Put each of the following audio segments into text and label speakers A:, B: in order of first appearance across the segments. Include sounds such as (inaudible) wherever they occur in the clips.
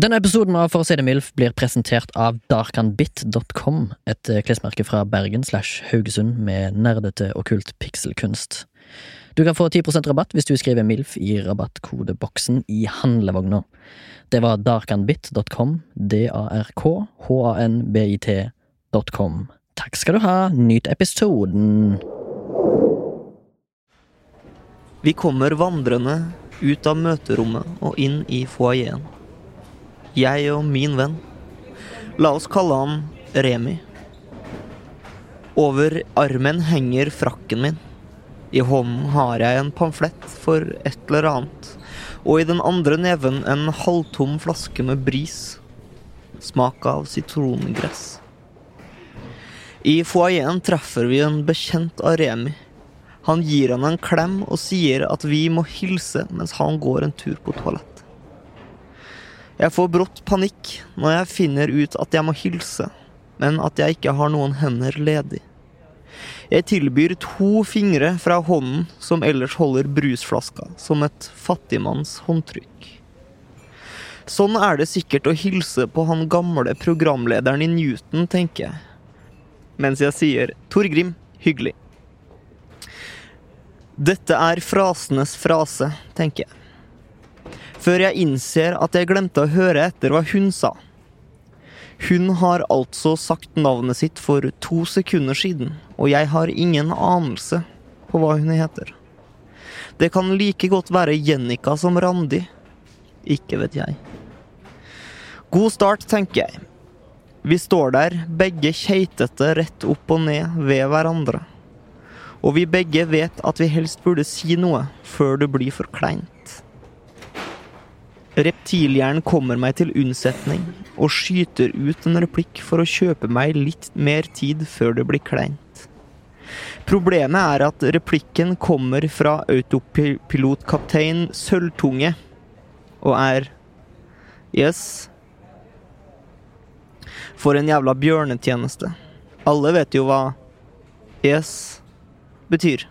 A: Denne episoden av For å si det mildt blir presentert av darkanbit.com, et eh, klesmerke fra Bergen slash Haugesund med nerdete okkult pikselkunst. Du kan få 10 rabatt hvis du skriver MILF i rabattkodeboksen i handlevogna. Det var darkanbit.com, d-a-r-k-h-a-n-b-i-t.com. Takk skal du ha, nyt episoden!
B: Vi kommer vandrende ut av møterommet og inn i foajeen. Jeg og min venn. La oss kalle han Remi. Over armen henger frakken min. I hånden har jeg en pamflett for et eller annet, og i den andre neven en halvtom flaske med bris. Smak av sitrongress. I foajeen treffer vi en bekjent av Remi. Han gir henne en klem og sier at vi må hilse mens han går en tur på toalett. Jeg får brått panikk når jeg finner ut at jeg må hilse, men at jeg ikke har noen hender ledig. Jeg tilbyr to fingre fra hånden som ellers holder brusflaska, som et fattigmanns håndtrykk. Sånn er det sikkert å hilse på han gamle programlederen i Newton, tenker jeg. Mens jeg sier Torgrim, hyggelig. Dette er frasenes frase, tenker jeg. Før jeg innser at jeg glemte å høre etter hva hun sa. Hun har altså sagt navnet sitt for to sekunder siden, og jeg har ingen anelse på hva hun heter. Det kan like godt være Jennica som Randi. Ikke vet jeg. God start, tenker jeg. Vi står der, begge keitete rett opp og ned ved hverandre. Og vi begge vet at vi helst burde si noe før det blir for kleint. Reptilhjernen kommer meg til unnsetning og skyter ut en replikk for å kjøpe meg litt mer tid før det blir kleint. Problemet er at replikken kommer fra autopilotkaptein Sølvtunge og er Yes. For en jævla bjørnetjeneste. Alle vet jo hva Yes betyr.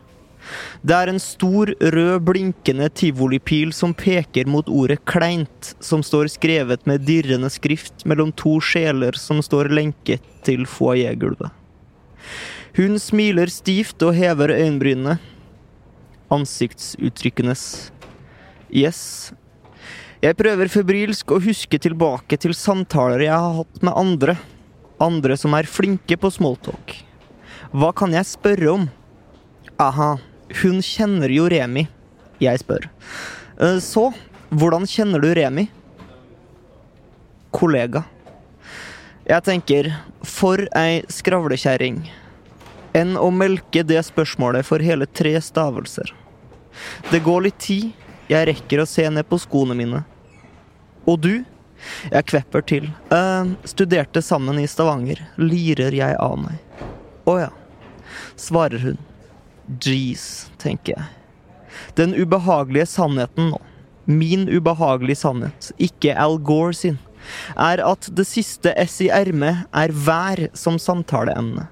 B: Det er en stor, rød, blinkende tivolipil som peker mot ordet kleint, som står skrevet med dirrende skrift mellom to sjeler som står lenket til foajégulvet. Hun smiler stivt og hever øyenbrynene. Ansiktsutttrykkenes yes. Jeg prøver febrilsk å huske tilbake til samtaler jeg har hatt med andre. Andre som er flinke på smalltalk. Hva kan jeg spørre om? Aha, hun kjenner jo Remi. Jeg spør. «Eh, Så, hvordan kjenner du Remi? Kollega. Jeg tenker, for ei skravlekjerring. Enn å melke det spørsmålet for hele tre stavelser. Det går litt tid, jeg rekker å se ned på skoene mine. Og du? Jeg kvepper til. «Eh, studerte sammen i Stavanger, lirer jeg av meg. Å ja, svarer hun. Jeez, tenker jeg. Den ubehagelige sannheten nå, min ubehagelige sannhet, ikke Al Gore sin, er at det siste S i ermet er vær som samtaleemne.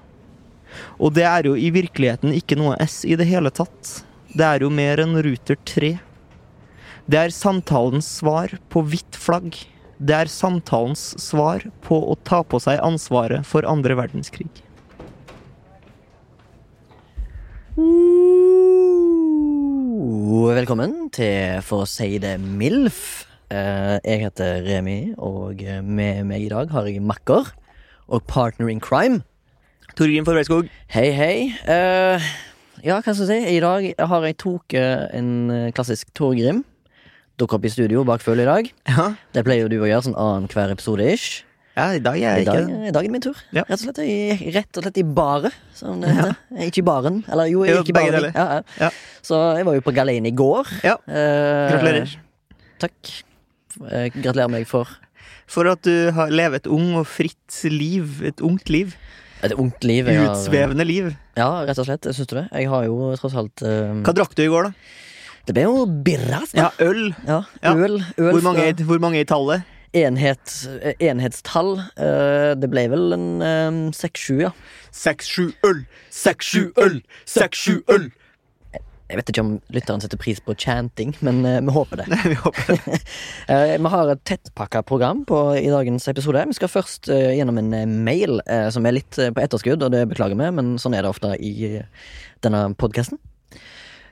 B: Og det er jo i virkeligheten ikke noe S i det hele tatt. Det er jo mer enn Ruter 3. Det er samtalens svar på hvitt flagg. Det er samtalens svar på å ta på seg ansvaret for andre verdenskrig.
A: Uh, Velkommen til For å si det MILF. Eh, Jeg heter Remi, og med meg i dag har jeg makker og partner in crime.
B: Torgrim Forveiskog.
A: Hei, hei. Eh, Ja, hva skal jeg si? I dag har jeg tok eh, en klassisk Torgrim. Dukket opp i studio bak følget i dag.
B: Ja,
A: Det pleier jo du å gjøre sånn annenhver episode ish.
B: ja i dag
A: I
B: er jeg
A: dag
B: ikke det.
A: er dagen min tur.
B: Ja.
A: Rett og slett i, rett og slett i baret, som det heter. Eh, Ikke i baren. Eller jo,
B: Jo,
A: ikke i
B: begge
A: baren.
B: deler.
A: Ja, ja.
B: Ja.
A: Så jeg var jo på galeien i går.
B: Ja,
A: Eh,
B: gratulerer.
A: Takk. Eh, gratulerer meg for
B: For at du har lever et ung og fritt liv. Et ungt liv.
A: et ungt liv. jeg har-
B: Utsvevende liv.
A: Ja, rett og slett. Syns du det? Jeg har jo tross alt eh,
B: Hva drakk du i går, da?
A: Det ble jo birras, da.
B: Ja, Øl.
A: Ja.
B: Ja.
A: Øl. øl
B: Hvor mange,
A: fra-
B: hvor mange i tallet?
A: enhet, eh, enhetstall. Eh, det ble vel en seks-sju, ja.
B: Seks, sju øl! Seks, sju øl! Seks, sju øl!
A: Jeg vet ikke om lytteren setter pris på chanting, men eh, vi håper det.
B: Vi håper det.
A: Eh, vi har et tettpakka program på, i dagens episode. Vi skal først eh, gjennom en eh, mail eh, som er litt eh, på etterskudd, og det beklager vi, men sånn er det ofte i eh, denne podkasten.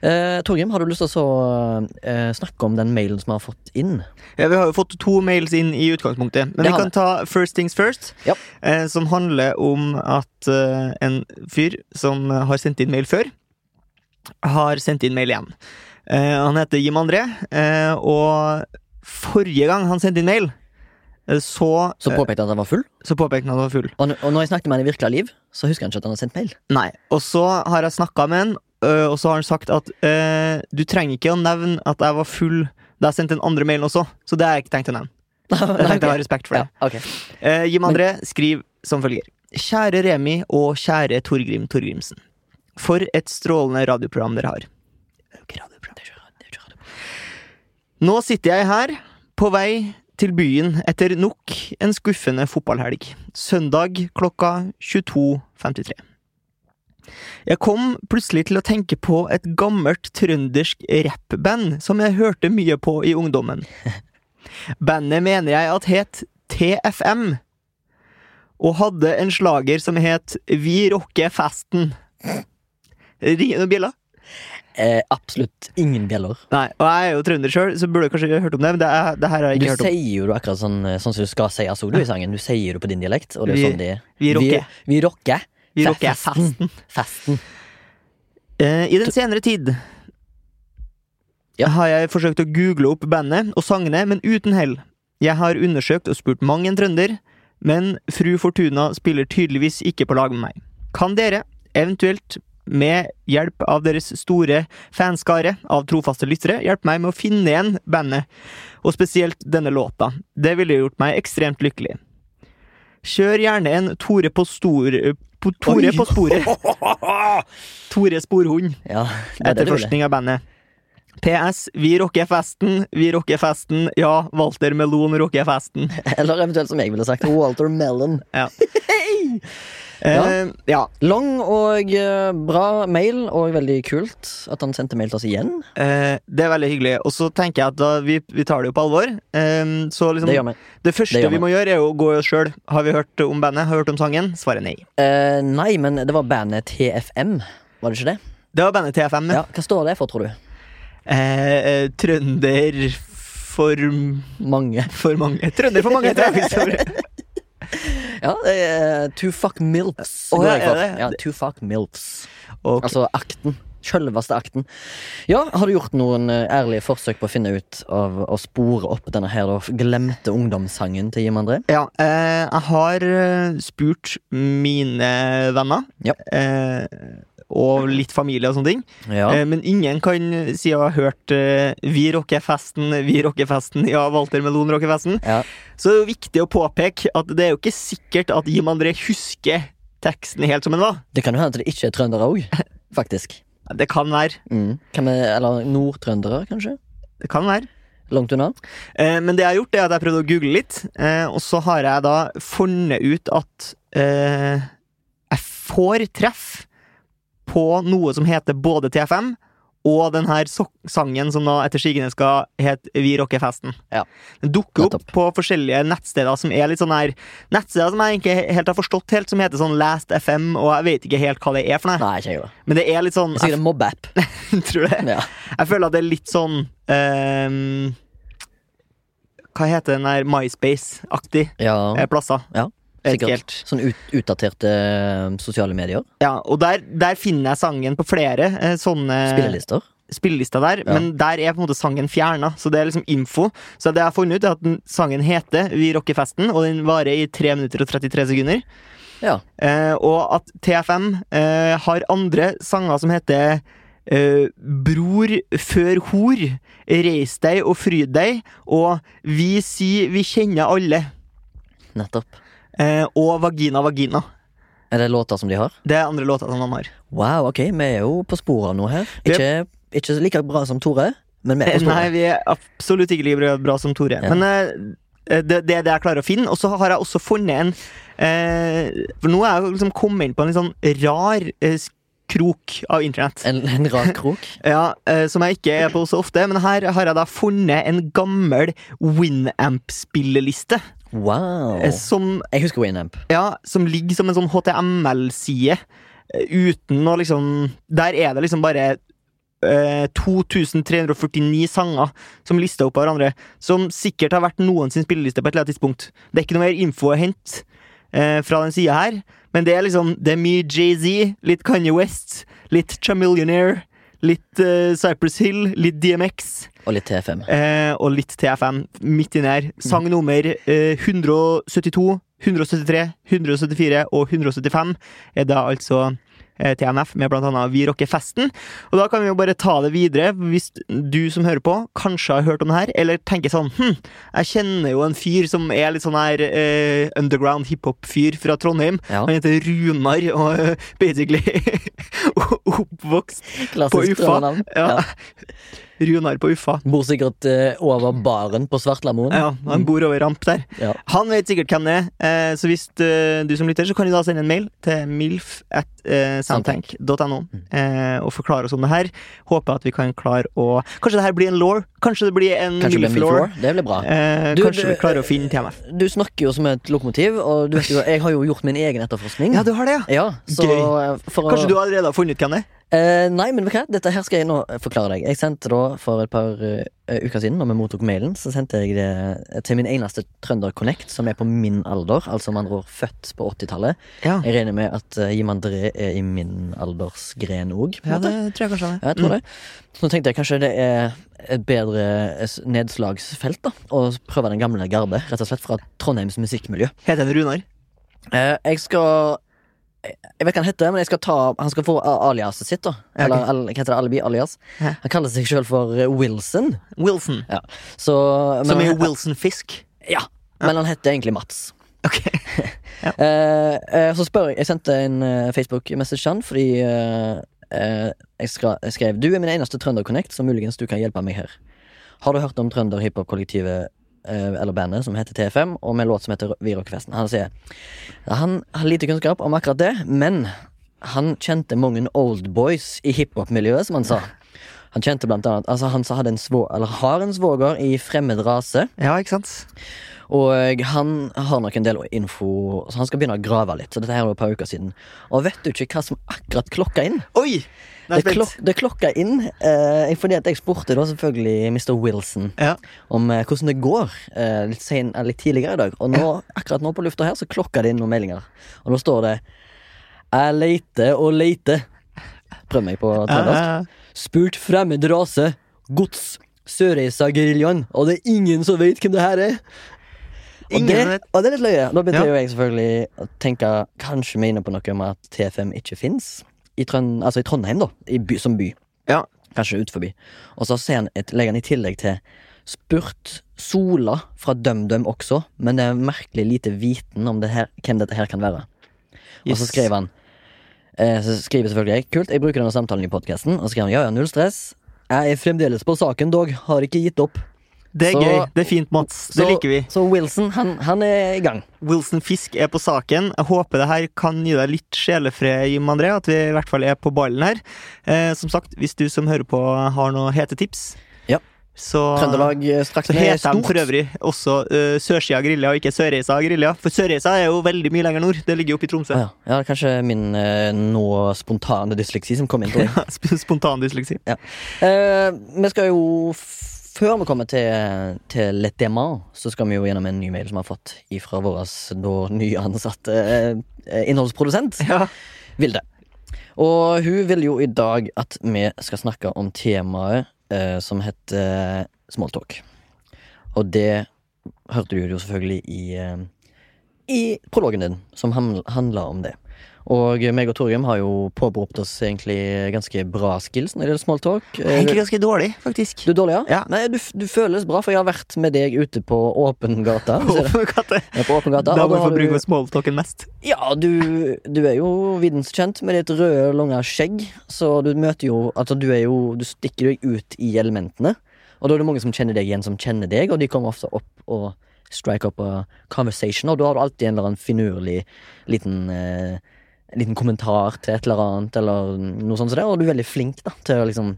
A: Eh, Torgrim, har du lyst til å så, eh, snakke om den mailen som vi har fått inn?
B: Ja, vi har jo fått to mails inn i utgangspunktet,
A: Det
B: men vi
A: har
B: kan ta First Things First.
A: Ja.
B: Eh, som handler om at eh, en fyr som har sendt inn mail før, har sendt inn mail igjen. Eh, han heter Jim André, eh, og forrige gang han sendte inn mail, eh, så,
A: Så påpekte han at han var full.
B: så påpekte han at han var full.
A: Og, og når jeg snakket med han i virkelig liv, så husker han ikke at han har sendt mail. (laughs)
B: Nei. Og så har jeg snakka med han, øh, og så har han sagt at øh, du trenger ikke å nevne at jeg var full da jeg sendte den andre mailen også. Så det har jeg ikke tenkt å nevne. Jeg tenkte jeg har respekt for det.
A: Ja, ok.
B: Eh, Jim André skriver som følger. Kjære Remi og kjære Torgrim Torgrimsen. For et strålende radioprogram dere har.
A: Det er ikke rart, det er ikke rart.
B: Nå sitter jeg her, på vei til byen etter nok en skuffende fotballhelg. Søndag klokka 22.53. Jeg kom plutselig til å tenke på et gammelt trøndersk rappband som jeg hørte mye på i ungdommen.
A: (laughs)
B: Bandet mener jeg at het TFM, og hadde en slager som het Vi rocker festen. Ringer noen bjeller?
A: Eh, absolutt ingen bjeller.
B: Nei, og jeg er jo trønder sjøl, så burde du kanskje ha hørt om det. Men det, er, det her har jeg
A: Du
B: ikke hørt om.
A: sier jo det akkurat sånn, sånn som du skal si altså, du i sangen. Du sier det på din dialekt, og det er
B: Vi-
A: sånn det er.
B: Vi rocker.
A: Vi, vi rocker.
B: Vi
A: fe-
B: rocker festen.
A: Festen.
B: Eh, I den senere tid
A: Ja.
B: har jeg forsøkt å google opp bandet og sangene, men uten hell. Jeg har undersøkt og spurt mang en trønder, men fru Fortuna spiller tydeligvis ikke på lag med meg. Kan dere, eventuelt med hjelp av deres store fanskare av trofaste lyttere, hjelpe meg med å finne igjen bandet, og spesielt denne låta? Det ville gjort meg ekstremt lykkelig. Kjør gjerne en Tore på stor... eh, På Tore
A: Oi.
B: på sporet.
A: (laughs)
B: Tore Sporhund
A: Ja,
B: (laughs)
A: det er det du ville.
B: etterforskning av bandet. PS. Vi rocker festen, vi rocker festen. Ja, Walter Melon rocker festen.
A: (laughs) Eller eventuelt som jeg ville sagt, Walter Mellon.
B: Ja.
A: (laughs) Ja.
B: Eh, ja.
A: Lang og eh, bra mail, og veldig kult at han sendte mail til oss igjen.
B: Eh, det er veldig hyggelig. Og så tenker jeg at da, vi, vi tar det jo på alvor. Eh, så liksom,
A: Det
B: det,
A: gjør vi.
B: første
A: det gjør
B: vi må gjøre, er jo å gå i oss sjøl. Har vi hørt om bandet? Har vi hørt om sangen? Svaret er nei.
A: Eh, nei, men det var bandet TFM. Var det ikke det?
B: Det var bandet TFM.
A: Ja, Hva står det for, tror du?
B: Eh, eh, trønder for,
A: Mange.
B: for mange. Trønder
A: (laughs)
B: for mange, tror jeg vi står.
A: Ja, eh, To Fuck Milfs.
B: Å,
A: går
B: ja,
A: jeg for.
B: er det?
A: ja, to fuck milfs.
B: Ok.
A: Altså akten. Sjølveste akten. Ja, har du gjort noen eh, ærlige forsøk på å finne ut av å spore opp denne her da, glemte ungdomssangen til Jim André?
B: Ja, eh, jeg har eh, spurt mine venner
A: Ja.
B: eh, og litt familie og sånne ting.
A: Ja.
B: Eh, men ingen kan si å ha hørt eh, 'Vi rocker festen', 'Vi rocker festen', (laughs) ja, Walter Melon rocker festen.
A: Ja.
B: Så det er jo viktig å påpeke at det er jo ikke sikkert at Jim André husker teksten helt som den var.
A: Det kan jo hende at det ikke er trøndere òg,
B: (laughs)
A: faktisk.
B: Det kan være.
A: Mm. Kan vi, eller nordtrøndere, kanskje?
B: Det kan være.
A: Langt unna.
B: Eh, men det jeg har gjort, er at jeg prøvde å google litt, eh, og så har jeg da funnet ut at eh, jeg får treff på noe som heter både TFM og den her so sangen som da etter sigende skal hete Vi rocker festen.
A: Ja.
B: Den dukker opp
A: Nettopp.
B: på forskjellige nettsteder som er litt sånn her Nettsteder som jeg ikke helt har forstått helt, som heter sånn Last FM, og jeg vet ikke helt hva det er for noe.
A: Nei, ikke jeg, da.
B: Men det er litt sånn
A: Det er Sikkert en
B: (laughs)
A: mobbeapp.
B: jeg tror det.
A: Ja.
B: Jeg føler at det er litt sånn ehm, Hva heter den der MySpace-aktig eh,
A: Ja,
B: plasser?
A: Ja,
B: Jeg vet ikke
A: sikkert.
B: helt.
A: Sånn ut, utdaterte eh, sosiale medier.
B: Ja, og der, der finner jeg sangen på flere eh, sånne
A: Spillelister.
B: spillelister der,
A: Ja.
B: men der er på en måte sangen fjerna, så det er liksom info. Så det jeg har funnet ut, er at den, sangen heter Vi rocker festen, og den varer i 3 minutter og 33 sekunder.
A: Ja.
B: Eh, og at TFM eh, har andre sanger som heter eh, Bror før hor, Reis deg og fryd deg, og Vi si vi kjenner alle,
A: Nettopp.
B: eh, og Vagina vagina.
A: Er det låter som de har?
B: Det er andre låter som han har.
A: Wow, ok, vi er jo på sporet av noe her.
B: Det- Eh,
A: Ikke, ikke like bra som Tore, men vi er på sporet.
B: Nei, vi er absolutt ikke like bra- bra som Tore.
A: Ja.
B: Men eh, det, det er det jeg klarer å finne. Og så har jeg også funnet en eh, For nå er jeg jo liksom kommet inn på en litt sånn rar eh, sk- krok av internett.
A: En, en rar
B: (laughs)
A: krok.
B: Ja, eh, Som jeg ikke er på så ofte. Men her har jeg da funnet en gammel Winamp-spilleliste.
A: Wow.
B: eh, Som,
A: Jeg husker Winamp.
B: ja, som ligger som en sånn HTML-side. eh, Uten å liksom Der er det liksom bare eh, 2349 sanger som lister opp av hverandre. Som sikkert har vært noen sin spilleliste på et eller annet tidspunkt. Det er ikke noe mer info å hente eh, fra den sida her. Men det er liksom Det er mye Jay-Z, litt Kanye West, litt Chamillionaire, litt eh, Cypress Hill, litt DMX
A: Og litt T5.
B: eh, og litt TFM midt inni her. Sang nummer eh, 172, 173, 174 og 175 er da altså eh, TMF med blant annet Vi rocker festen. Og da kan vi jo bare ta det videre, hvis du som hører på kanskje har hørt om det her, eller tenker sånn hm, jeg kjenner jo en fyr som er litt sånn her eh, underground hiphop-fyr fra Trondheim.
A: Ja.
B: Han heter Runar og eh, basically (laughs) oppvokst på
A: Klassisk
B: Uffa.
A: drømmenavn.
B: Ja. Runar på Uffa.
A: Bor sikkert eh, over baren på Svartlamoen.
B: Ja, han bor over ramp der.
A: Ja.
B: Han vet sikkert hvem det er. eh, Så hvis eh, du som lytter, så kan du da sende en mail til milf at eh, samtank.no eh, og forklare oss om det her. Håper at vi kan klare å Kanskje det her blir en law? Kanskje det blir en
A: Kanskje det blir en
B: milf-law?
A: Milflore? Det blir bra.
B: Eh,
A: Du,
B: kanskje
A: du-
B: vi klarer å finne TMF.
A: Du snakker jo som et lokomotiv, og du vet jo, jeg har jo gjort min egen etterforskning.
B: Ja, du har det, ja.
A: Ja, så
B: Gøy.
A: eh, for å
B: Kanskje du allerede har funnet ut hvem det er?
A: Eh, nei, men vet du hva? dette her skal jeg nå forklare deg. Jeg sendte da For et par eh, uker siden, når vi mottok mailen, så sendte jeg det eh, til min eneste Trønder Connect, som er på min alder. Altså med andre ord født på 80-tallet.
B: Ja.
A: Jeg regner med at eh, Jim André er i min aldersgren òg.
B: ja, det tror jeg kanskje han er.
A: Ja, jeg tror
B: Mm.
A: det. Så nå tenkte jeg kanskje det er et bedre s- nedslagsfelt da å prøve den gamle garde, rett og slett fra Trondheims musikkmiljø.
B: Heter han Runar?
A: Eh, jeg skal Jeg vet hva han heter, men jeg skal ta han skal få a- aliaset sitt. da
B: Ja, ok.
A: Eller al, hva heter det, alibi? Alias.
B: Ja.
A: Han kaller seg sjøl for eh, Wilson.
B: Wilson.
A: Så, men,
B: Som er
A: han-
B: Wilson Fisk.
A: ja, men han heter egentlig Mats.
B: Ok.
A: Eh, eh, så spør jeg Jeg sendte en eh, Facebook-message til han fordi eh, eh, jeg, skra- jeg skrev Du er min eneste Trønder-connect, så muligens du kan hjelpe meg her. Har du hørt om Trønder hiphop-kollektivet eh, eller bandet som heter TFM, og med en låt som heter Vi rocker festen? Han sier han har lite kunnskap om akkurat det, men han kjente mange old boys i hiphop-miljøet, som han sa. Han kjente blant annet Altså han som hadde en svå, eller har en svoger i fremmed rase.
B: (laughs) Ja, ikke sant?
A: Og han har nok en del info, så han skal begynne å grave litt. Så dette her er jo et par uker siden Og vet du ikke hva som akkurat klokka inn?
B: Oi! Nå er
A: Det,
B: jeg
A: klok
B: spent.
A: det klokka inn eh, fordi at jeg spurte da selvfølgelig Mr. Wilson
B: Ja.
A: om eh, hvordan det går eh, litt, sen, eller litt tidligere i dag. Og nå, akkurat nå på lufta her så klokka det inn noen meldinger. Og nå står det Jeg leite og leite. Prøv meg på trøndersk.
B: Ja, ja, ja.
A: Spurt fremmed rase, gods, Sørreisa-geriljaen, og det er ingen som vet hvem det her er. Og
B: Ingen
A: det,
B: vet.
A: og det er litt løye. Da begynte
B: Ja.
A: jo jeg selvfølgelig å tenke Kanskje vi er inne på noe med at T5 ikke fins. I, Trøn- altså I Trondheim, da. I by, som by.
B: Ja.
A: Kanskje ut forbi. Og så ser han et, legger han i tillegg til Spurt Sola fra DumDum også, men det er merkelig lite viten om det her, hvem dette her kan være. Og så
B: Yes.
A: skrev han eh, Så skriver selvfølgelig jeg Kult, jeg bruker denne samtalen i podcasten Og så skrev han, ja, ja, null stress Jeg er fremdeles på saken, dog Har ikke gitt opp
B: Det er
A: Så-
B: gøy. Det er fint, Mats. Det
A: Så-
B: liker vi.
A: Så Wilson, han, han er i gang
B: Wilson Fisk er på saken. Jeg håper det her kan gi deg litt sjelefred, Jim André. At vi i hvert fall er på ballen her. Eh, som sagt, hvis du som hører på har noe hete tips,
A: Ja.
B: så
A: Trøndelag eh, straks
B: Ah. så
A: ned
B: heter de
A: stort.
B: for øvrig også uh, Sørsida Grilla og ikke Sørreisa Grilla. For Sørreisa er jo veldig mye lenger nord. Det ligger jo oppe i Tromsø.
A: Å ja. ja, kanskje min eh, nå spontane dysleksi Som kom inn til deg
B: (laughs) Sp- Spontan dysleksi.
A: Eh, vi skal jo f- Før vi kommer til, til Le Démant, så skal vi jo gjennom en ny mail som vi har fått ifra vår da nyansatte eh, eh, innholdsprodusent,
B: Ja.
A: Vilde. Og hun vil jo i dag at vi skal snakke om temaet eh, som heter smalltalk. Og det hørte du jo selvfølgelig i, eh, i prologen din, som ham- handla om det. Og meg og Torgrim har jo påberopt oss egentlig ganske bra skills når det gjelder smalltalk.
B: Egentlig ganske dårlig, faktisk.
A: Du er dårlig, ja?
B: Ja.
A: Nei, du, f- du føles bra, for jeg har vært med deg ute på åpen gata.
B: Håper (laughs) at det-
A: Ja, På åpen gata
B: Da
A: og
B: må vi
A: har
B: få
A: du-
B: bruke smalltalken mest.
A: Ja, du, du er jo videnskjent med ditt røde, lange skjegg, så du møter jo Altså, du er jo Du stikker deg ut i elementene, og da er det mange som kjenner deg igjen, som kjenner deg, og de kommer ofte opp og strike up a conversation, og da har du alltid en eller annen finurlig liten eh, en liten kommentar til et eller annet, eller noe sånt som det. Og du er veldig flink da, til å liksom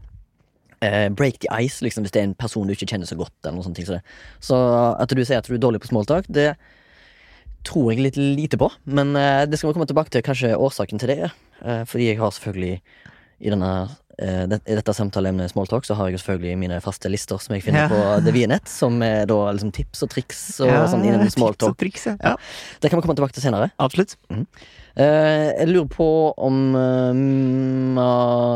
A: eh, break the ice, liksom, hvis det er en person du ikke kjenner så godt. eller noe sånt ting som det. Så at du sier at du er dårlig på smalltalk, det tror jeg litt lite på. Men eh, det skal vi komme tilbake til kanskje årsaken til det. Eh, fordi jeg har selvfølgelig i denne eh, det, i dette samtaleemnet smalltalk, så har jeg jo selvfølgelig mine faste lister som jeg finner
B: Ja.
A: på The Vianett, som er da liksom tips og triks og sånn innen
B: tips og
A: smalltalk.
B: triks, ja. ja.
A: Det kan vi komme tilbake til senere.
B: Absolutt.
A: Eh, jeg lurer på om eh, mm,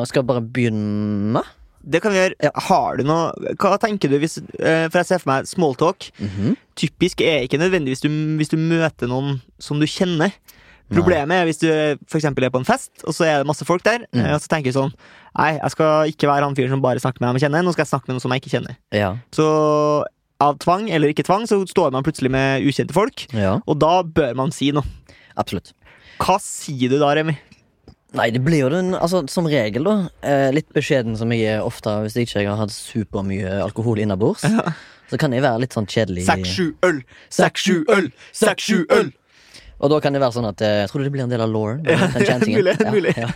A: Skal jeg bare begynne?
B: Det kan vi gjøre. Har du noe Hva tenker du hvis eh, For jeg ser for meg smalltalk.
A: Mhm.
B: Typisk er ikke nødvendigvis du, hvis du møter noen som du kjenner. Problemet er hvis du for eksempel er på en fest, og så er det masse folk der,
A: Mm.
B: eh, og så tenker du sånn Nei, jeg skal ikke være han fyren som bare snakker med dem jeg kjenner. Nå skal jeg snakke med noen som jeg ikke kjenner.
A: Ja.
B: Så av tvang eller ikke tvang, så står man plutselig med ukjente folk,
A: ja.
B: og da bør man si noe.
A: Absolutt.
B: Hva sier du da, Remi?
A: Nei, det blir jo den, altså som regel da eh, Litt beskjeden som jeg er ofte Hvis jeg ikke har hatt supermye alkohol innabords Så kan jeg være litt sånn kjedelig
B: sju øl! Seks, sju øl! Seks, sju øl!
A: Og da kan det være sånn at eh, Tror du det blir en del av lauren? (laughs) Ja,
B: mulig, mulig.
A: Ja,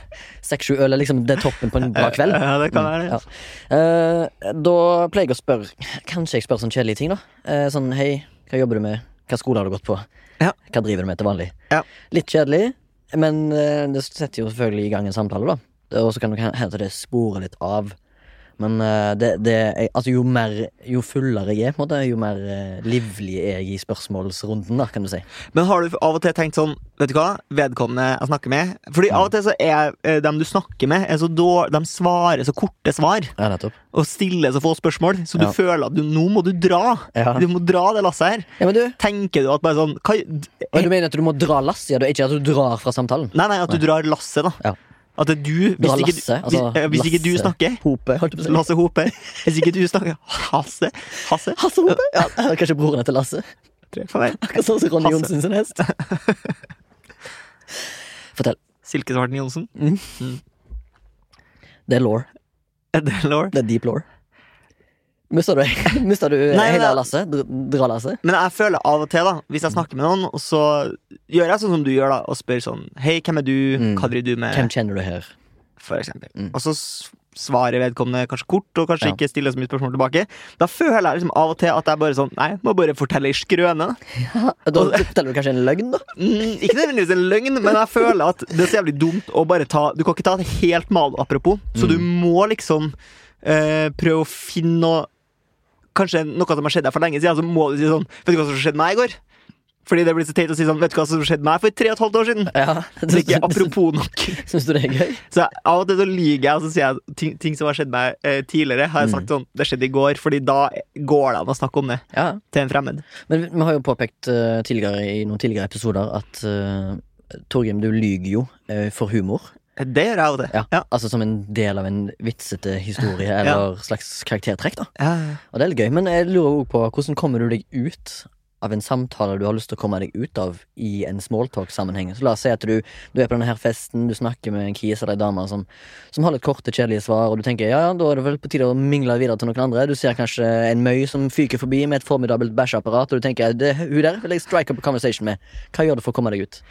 A: Seks, sju øl er liksom det er toppen på en bra kveld
B: Ja, det kan være
A: Mm,
B: det.
A: ja. Eh, Da pleier jeg å spørre Kanskje jeg spør sånn kjedelige ting da Eh, Sånn, hei, hva jobber du med? Hva skole har du gått på?
B: Ja.
A: Hva driver du med til vanlig?
B: Ja.
A: Litt kjedelig Men eh, det setter jo selvfølgelig i gang en samtale da Og så kan du hente det sporet litt av Men eh, det, det er- altså, jo, mer, jo fullere jeg er på en måte Jo mer eh, livlig er jeg i spørsmålsrunden da, kan du si
B: Men har du av og til tenkt sånn Vet du hva, vedkommende jeg snakker med Fordi av og til så er eh, dem du snakker med er så dår, De svarer så korte svar
A: Ja, nettopp
B: Og stiller så få spørsmål Så du
A: Ja.
B: føler at du, nå må du dra
A: Ja.
B: Du må dra det lasset her
A: Ja, men du,
B: Tenker du at bare sånn hva,
A: og du mener at du må dra lass Ja, det er ikke at du drar fra samtalen
B: Nei, nei, at du drar lasset da
A: Ja.
B: At det er du hvis,
A: Dra
B: ikke,
A: lasse,
B: hvis,
A: altså,
B: eh, hvis ikke du
A: lasse.
B: snakker
A: Hope, holdt jeg på å si.
B: Lasse Hope Hvis ikke du snakker Hasse Hasse
A: Hasse Hope? Ja, (laughs) kanskje broren til Lasse?
B: tror jeg, for meg.
A: Akkurat sånn som Ronny
B: Hasse.
A: Johnsen sin hest. Fortell.
B: Silkesvarten Jonsen
A: Det er law.
B: Edelor
A: Det er deep law. Mista du, (laughs) mista du
B: Nei,
A: hele
B: men-
A: Lasse? Dra, dra Lasse?
B: Men jeg føler av og til, da hvis jeg snakker med noen, og så gjør jeg sånn som du gjør, da og spør sånn Hei, hvem er du?
A: Mm.
B: Hva driver du med?
A: Hvem kjenner du (laughs) her?
B: For eksempel.
A: Mm.
B: Og så s- svarer vedkommende kanskje kort, og kanskje
A: Ja.
B: ikke stiller så mye spørsmål tilbake. Da føler jeg liksom av og til at jeg bare sånn Nei, må bare fortelle ei skrøne.
A: Da forteller du kanskje en løgn, da?
B: Mm, ikke nødvendigvis en løgn, men jeg føler at det er så jævlig dumt å bare ta Du kan ikke ta det helt mal apropos, så du må liksom eh, prøve å finne noe Kanskje noe som har skjedd deg for lenge siden, så må du si sånn Vet du hva som skjedde meg i går? Fordi det blir så teit å si sånn Vet du hva som skjedde meg for tre og et halvt år siden?
A: (laughs) Ja.
B: Det er ikke apropos nok.
A: Syns du det er gøy?
B: Så jeg- av og til så lyver jeg og så sier jeg ting, ting som har skjedd meg eh, tidligere. Har jeg sagt sånn Det skjedde i går. Fordi da går det an å snakke om det
A: Ja.
B: til en fremmed.
A: Men vi- vi har jo påpekt eh, tidligere i noen tidligere episoder at uh, Torgrim, du lyger jo eh, for humor.
B: Det gjør jeg av og til.
A: Ja.
B: Ja.
A: Altså som en del av en vitsete (laughs) historie eller slags karaktertrekk, da.
B: Ja.
A: Og det er litt gøy, men jeg lurer også på hvordan kommer du deg ut av en samtale du har lyst til å komme deg ut av i en smalltalk-sammenheng. Så la oss si at du, du er på denne her festen, du snakker med en kis eller ei dame som, som har litt korte, kjedelige svar, og du tenker ja, ja, da er det vel på tide å mingle videre til noen andre. Du ser kanskje en møy som fyker forbi med et formidabelt bæsjeapparat, og du tenker det, hun der vil jeg strike up a conversation med. Hva gjør du for å komme deg ut?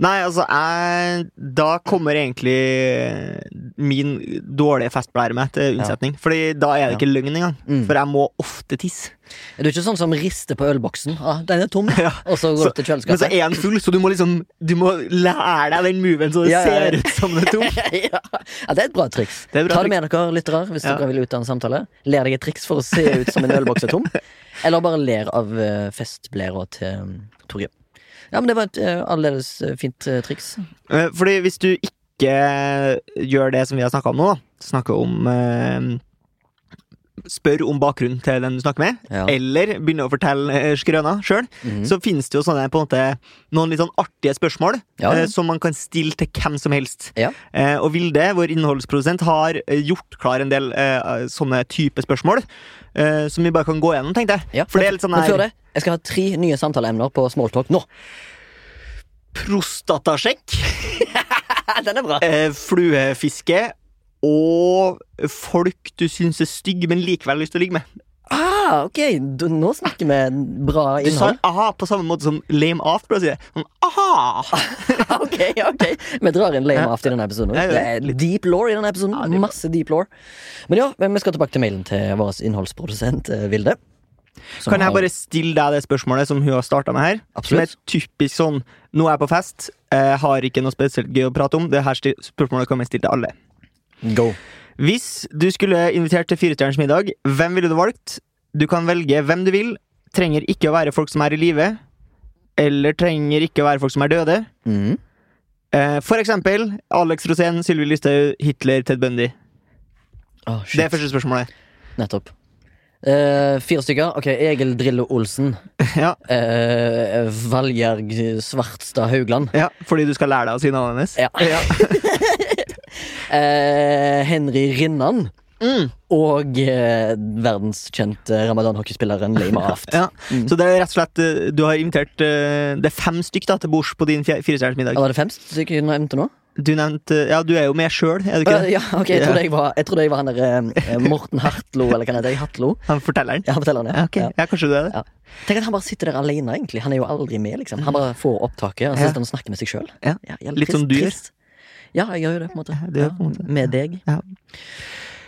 B: Nei, altså, jeg Da kommer egentlig min dårlige festblære meg til unnsetning. Fordi da er det ikke løgn engang.
A: Mm.
B: For jeg må ofte tisse.
A: Er du ikke sånn som rister på ølboksen? Ah, den er tom, og så går
B: Så-
A: du til
B: Men så
A: kjøleskapet?
B: er den full, så du må liksom Du må lære deg den moven så det
A: Ja, ja, ja.
B: ser ut som det er tom.
A: (laughs) ja. ja, det er et bra triks.
B: Det er et bra
A: Ta det med dere lyttere hvis
B: Ja.
A: dere vil ut av en samtale. Ler deg et triks for å se ut som en ølboks
B: (laughs)
A: er tom. Eller bare ler av eh, festblæra til um, Torgrim. Ja, men det var et uh, annerledes eh, fint eh, triks.
B: Eh, Fordi hvis du ikke gjør det som vi har snakka om nå, da snakke om eh, Spør om bakgrunnen til den du snakker med,
A: Ja.
B: eller begynne å fortelle eh, skrøna sjøl,
A: Mhm.
B: så finnes det jo sånne, på en måte, noen litt sånn artige spørsmål
A: Ja, ja.
B: eh, som man kan stille til hvem som helst.
A: Ja.
B: Eh, og Vilde, vår innholdsprodusent, har eh, gjort klar en del eh, sånne type spørsmål eh, som vi bare kan gå gjennom, tenkte jeg.
A: Ja,
B: For det er
A: men-
B: litt sånn
A: men før
B: her
A: det, jeg skal ha tre nye samtaleemner på smalltalk nå. (laughs)
B: prostatasjekk.
A: Den er bra!
B: eh, fluefiske og folk du syns er stygge, men likevel har lyst til å ligge med.
A: Ah, ok, du, nå snakker vi bra
B: Du sa
A: innhold.
B: aha på samme måte som lame off, burde jeg si. Sånn, aha!
A: (laughs) ok, ok. Vi drar inn lame after i denne episoden.
B: Ja,
A: Det
B: ja.
A: er deep law i denne episoden.
B: Ja, deep lore.
A: Masse deep law. Men ja, men vi skal tilbake til mailen til vår innholdsprodusent eh, Vilde. som
B: Kan jeg
A: har-
B: bare stille deg det spørsmålet som hun har starta med her? Som er
A: Absolutt.
B: typisk sånn Nå er jeg på fest, jeg har ikke noe spesielt gøy å prate om. Det her sti- spørsmålet kan jeg stille til alle.
A: Go.
B: Hvis du skulle invitert til Firestjerners middag, hvem ville du valgt? Du kan velge hvem du vil. Trenger ikke å være folk som er i live. Eller trenger ikke å være folk som er døde.
A: Mm.
B: Eh, For eksempel Alex Rosén, Sylvi Listhaug, Hitler, Ted Bundy.
A: Ah,
B: Det
A: shit.
B: er første
A: (laughs)
B: spørsmålet.
A: Nettopp. Eh, fire stykker. Ok, Egil Drillo Olsen.
B: Ja,
A: Uh, Valgjerg Svartstad Haugland.
B: ja, fordi du skal lære deg å si navnet hennes.
A: Ja. Eh, Henry Rinnan.
B: Mm.
A: Og eh, verdenskjente ramadan-hockeyspilleren
B: (laughs)
A: Leima Aft.
B: Ja. Så det er rett og slett eh, Du har invitert eh, Det er fem stykk da til bords på din fje- firestjerners middag.
A: Var det fem stykker jeg nevnte nå?
B: Du nevnte eh, Ja, du er jo med sjøl, er du ikke
A: Eh,
B: det?
A: ja, ok, jeg trodde jeg var, jeg trodde jeg var han der eh, Morten Hartlo, eller hva han heter. Hatlo.
B: Han fortelleren?
A: Ja, han forteller han,
B: Ja,
A: ja.
B: Ah, ok.
A: ja.
B: ja, kanskje du er det?
A: Ja. Tenk at han bare sitter der alene, egentlig. Han er jo aldri med, liksom. Han bare får opptaket, og så
B: Mm. Ja.
A: sitter han og snakker med seg sjøl.
B: Ja. Litt som du gjør.
A: Ja, jeg gjør jo det, på en måte.
B: Ja, du gjør på en måte.
A: Med deg.
B: Ja.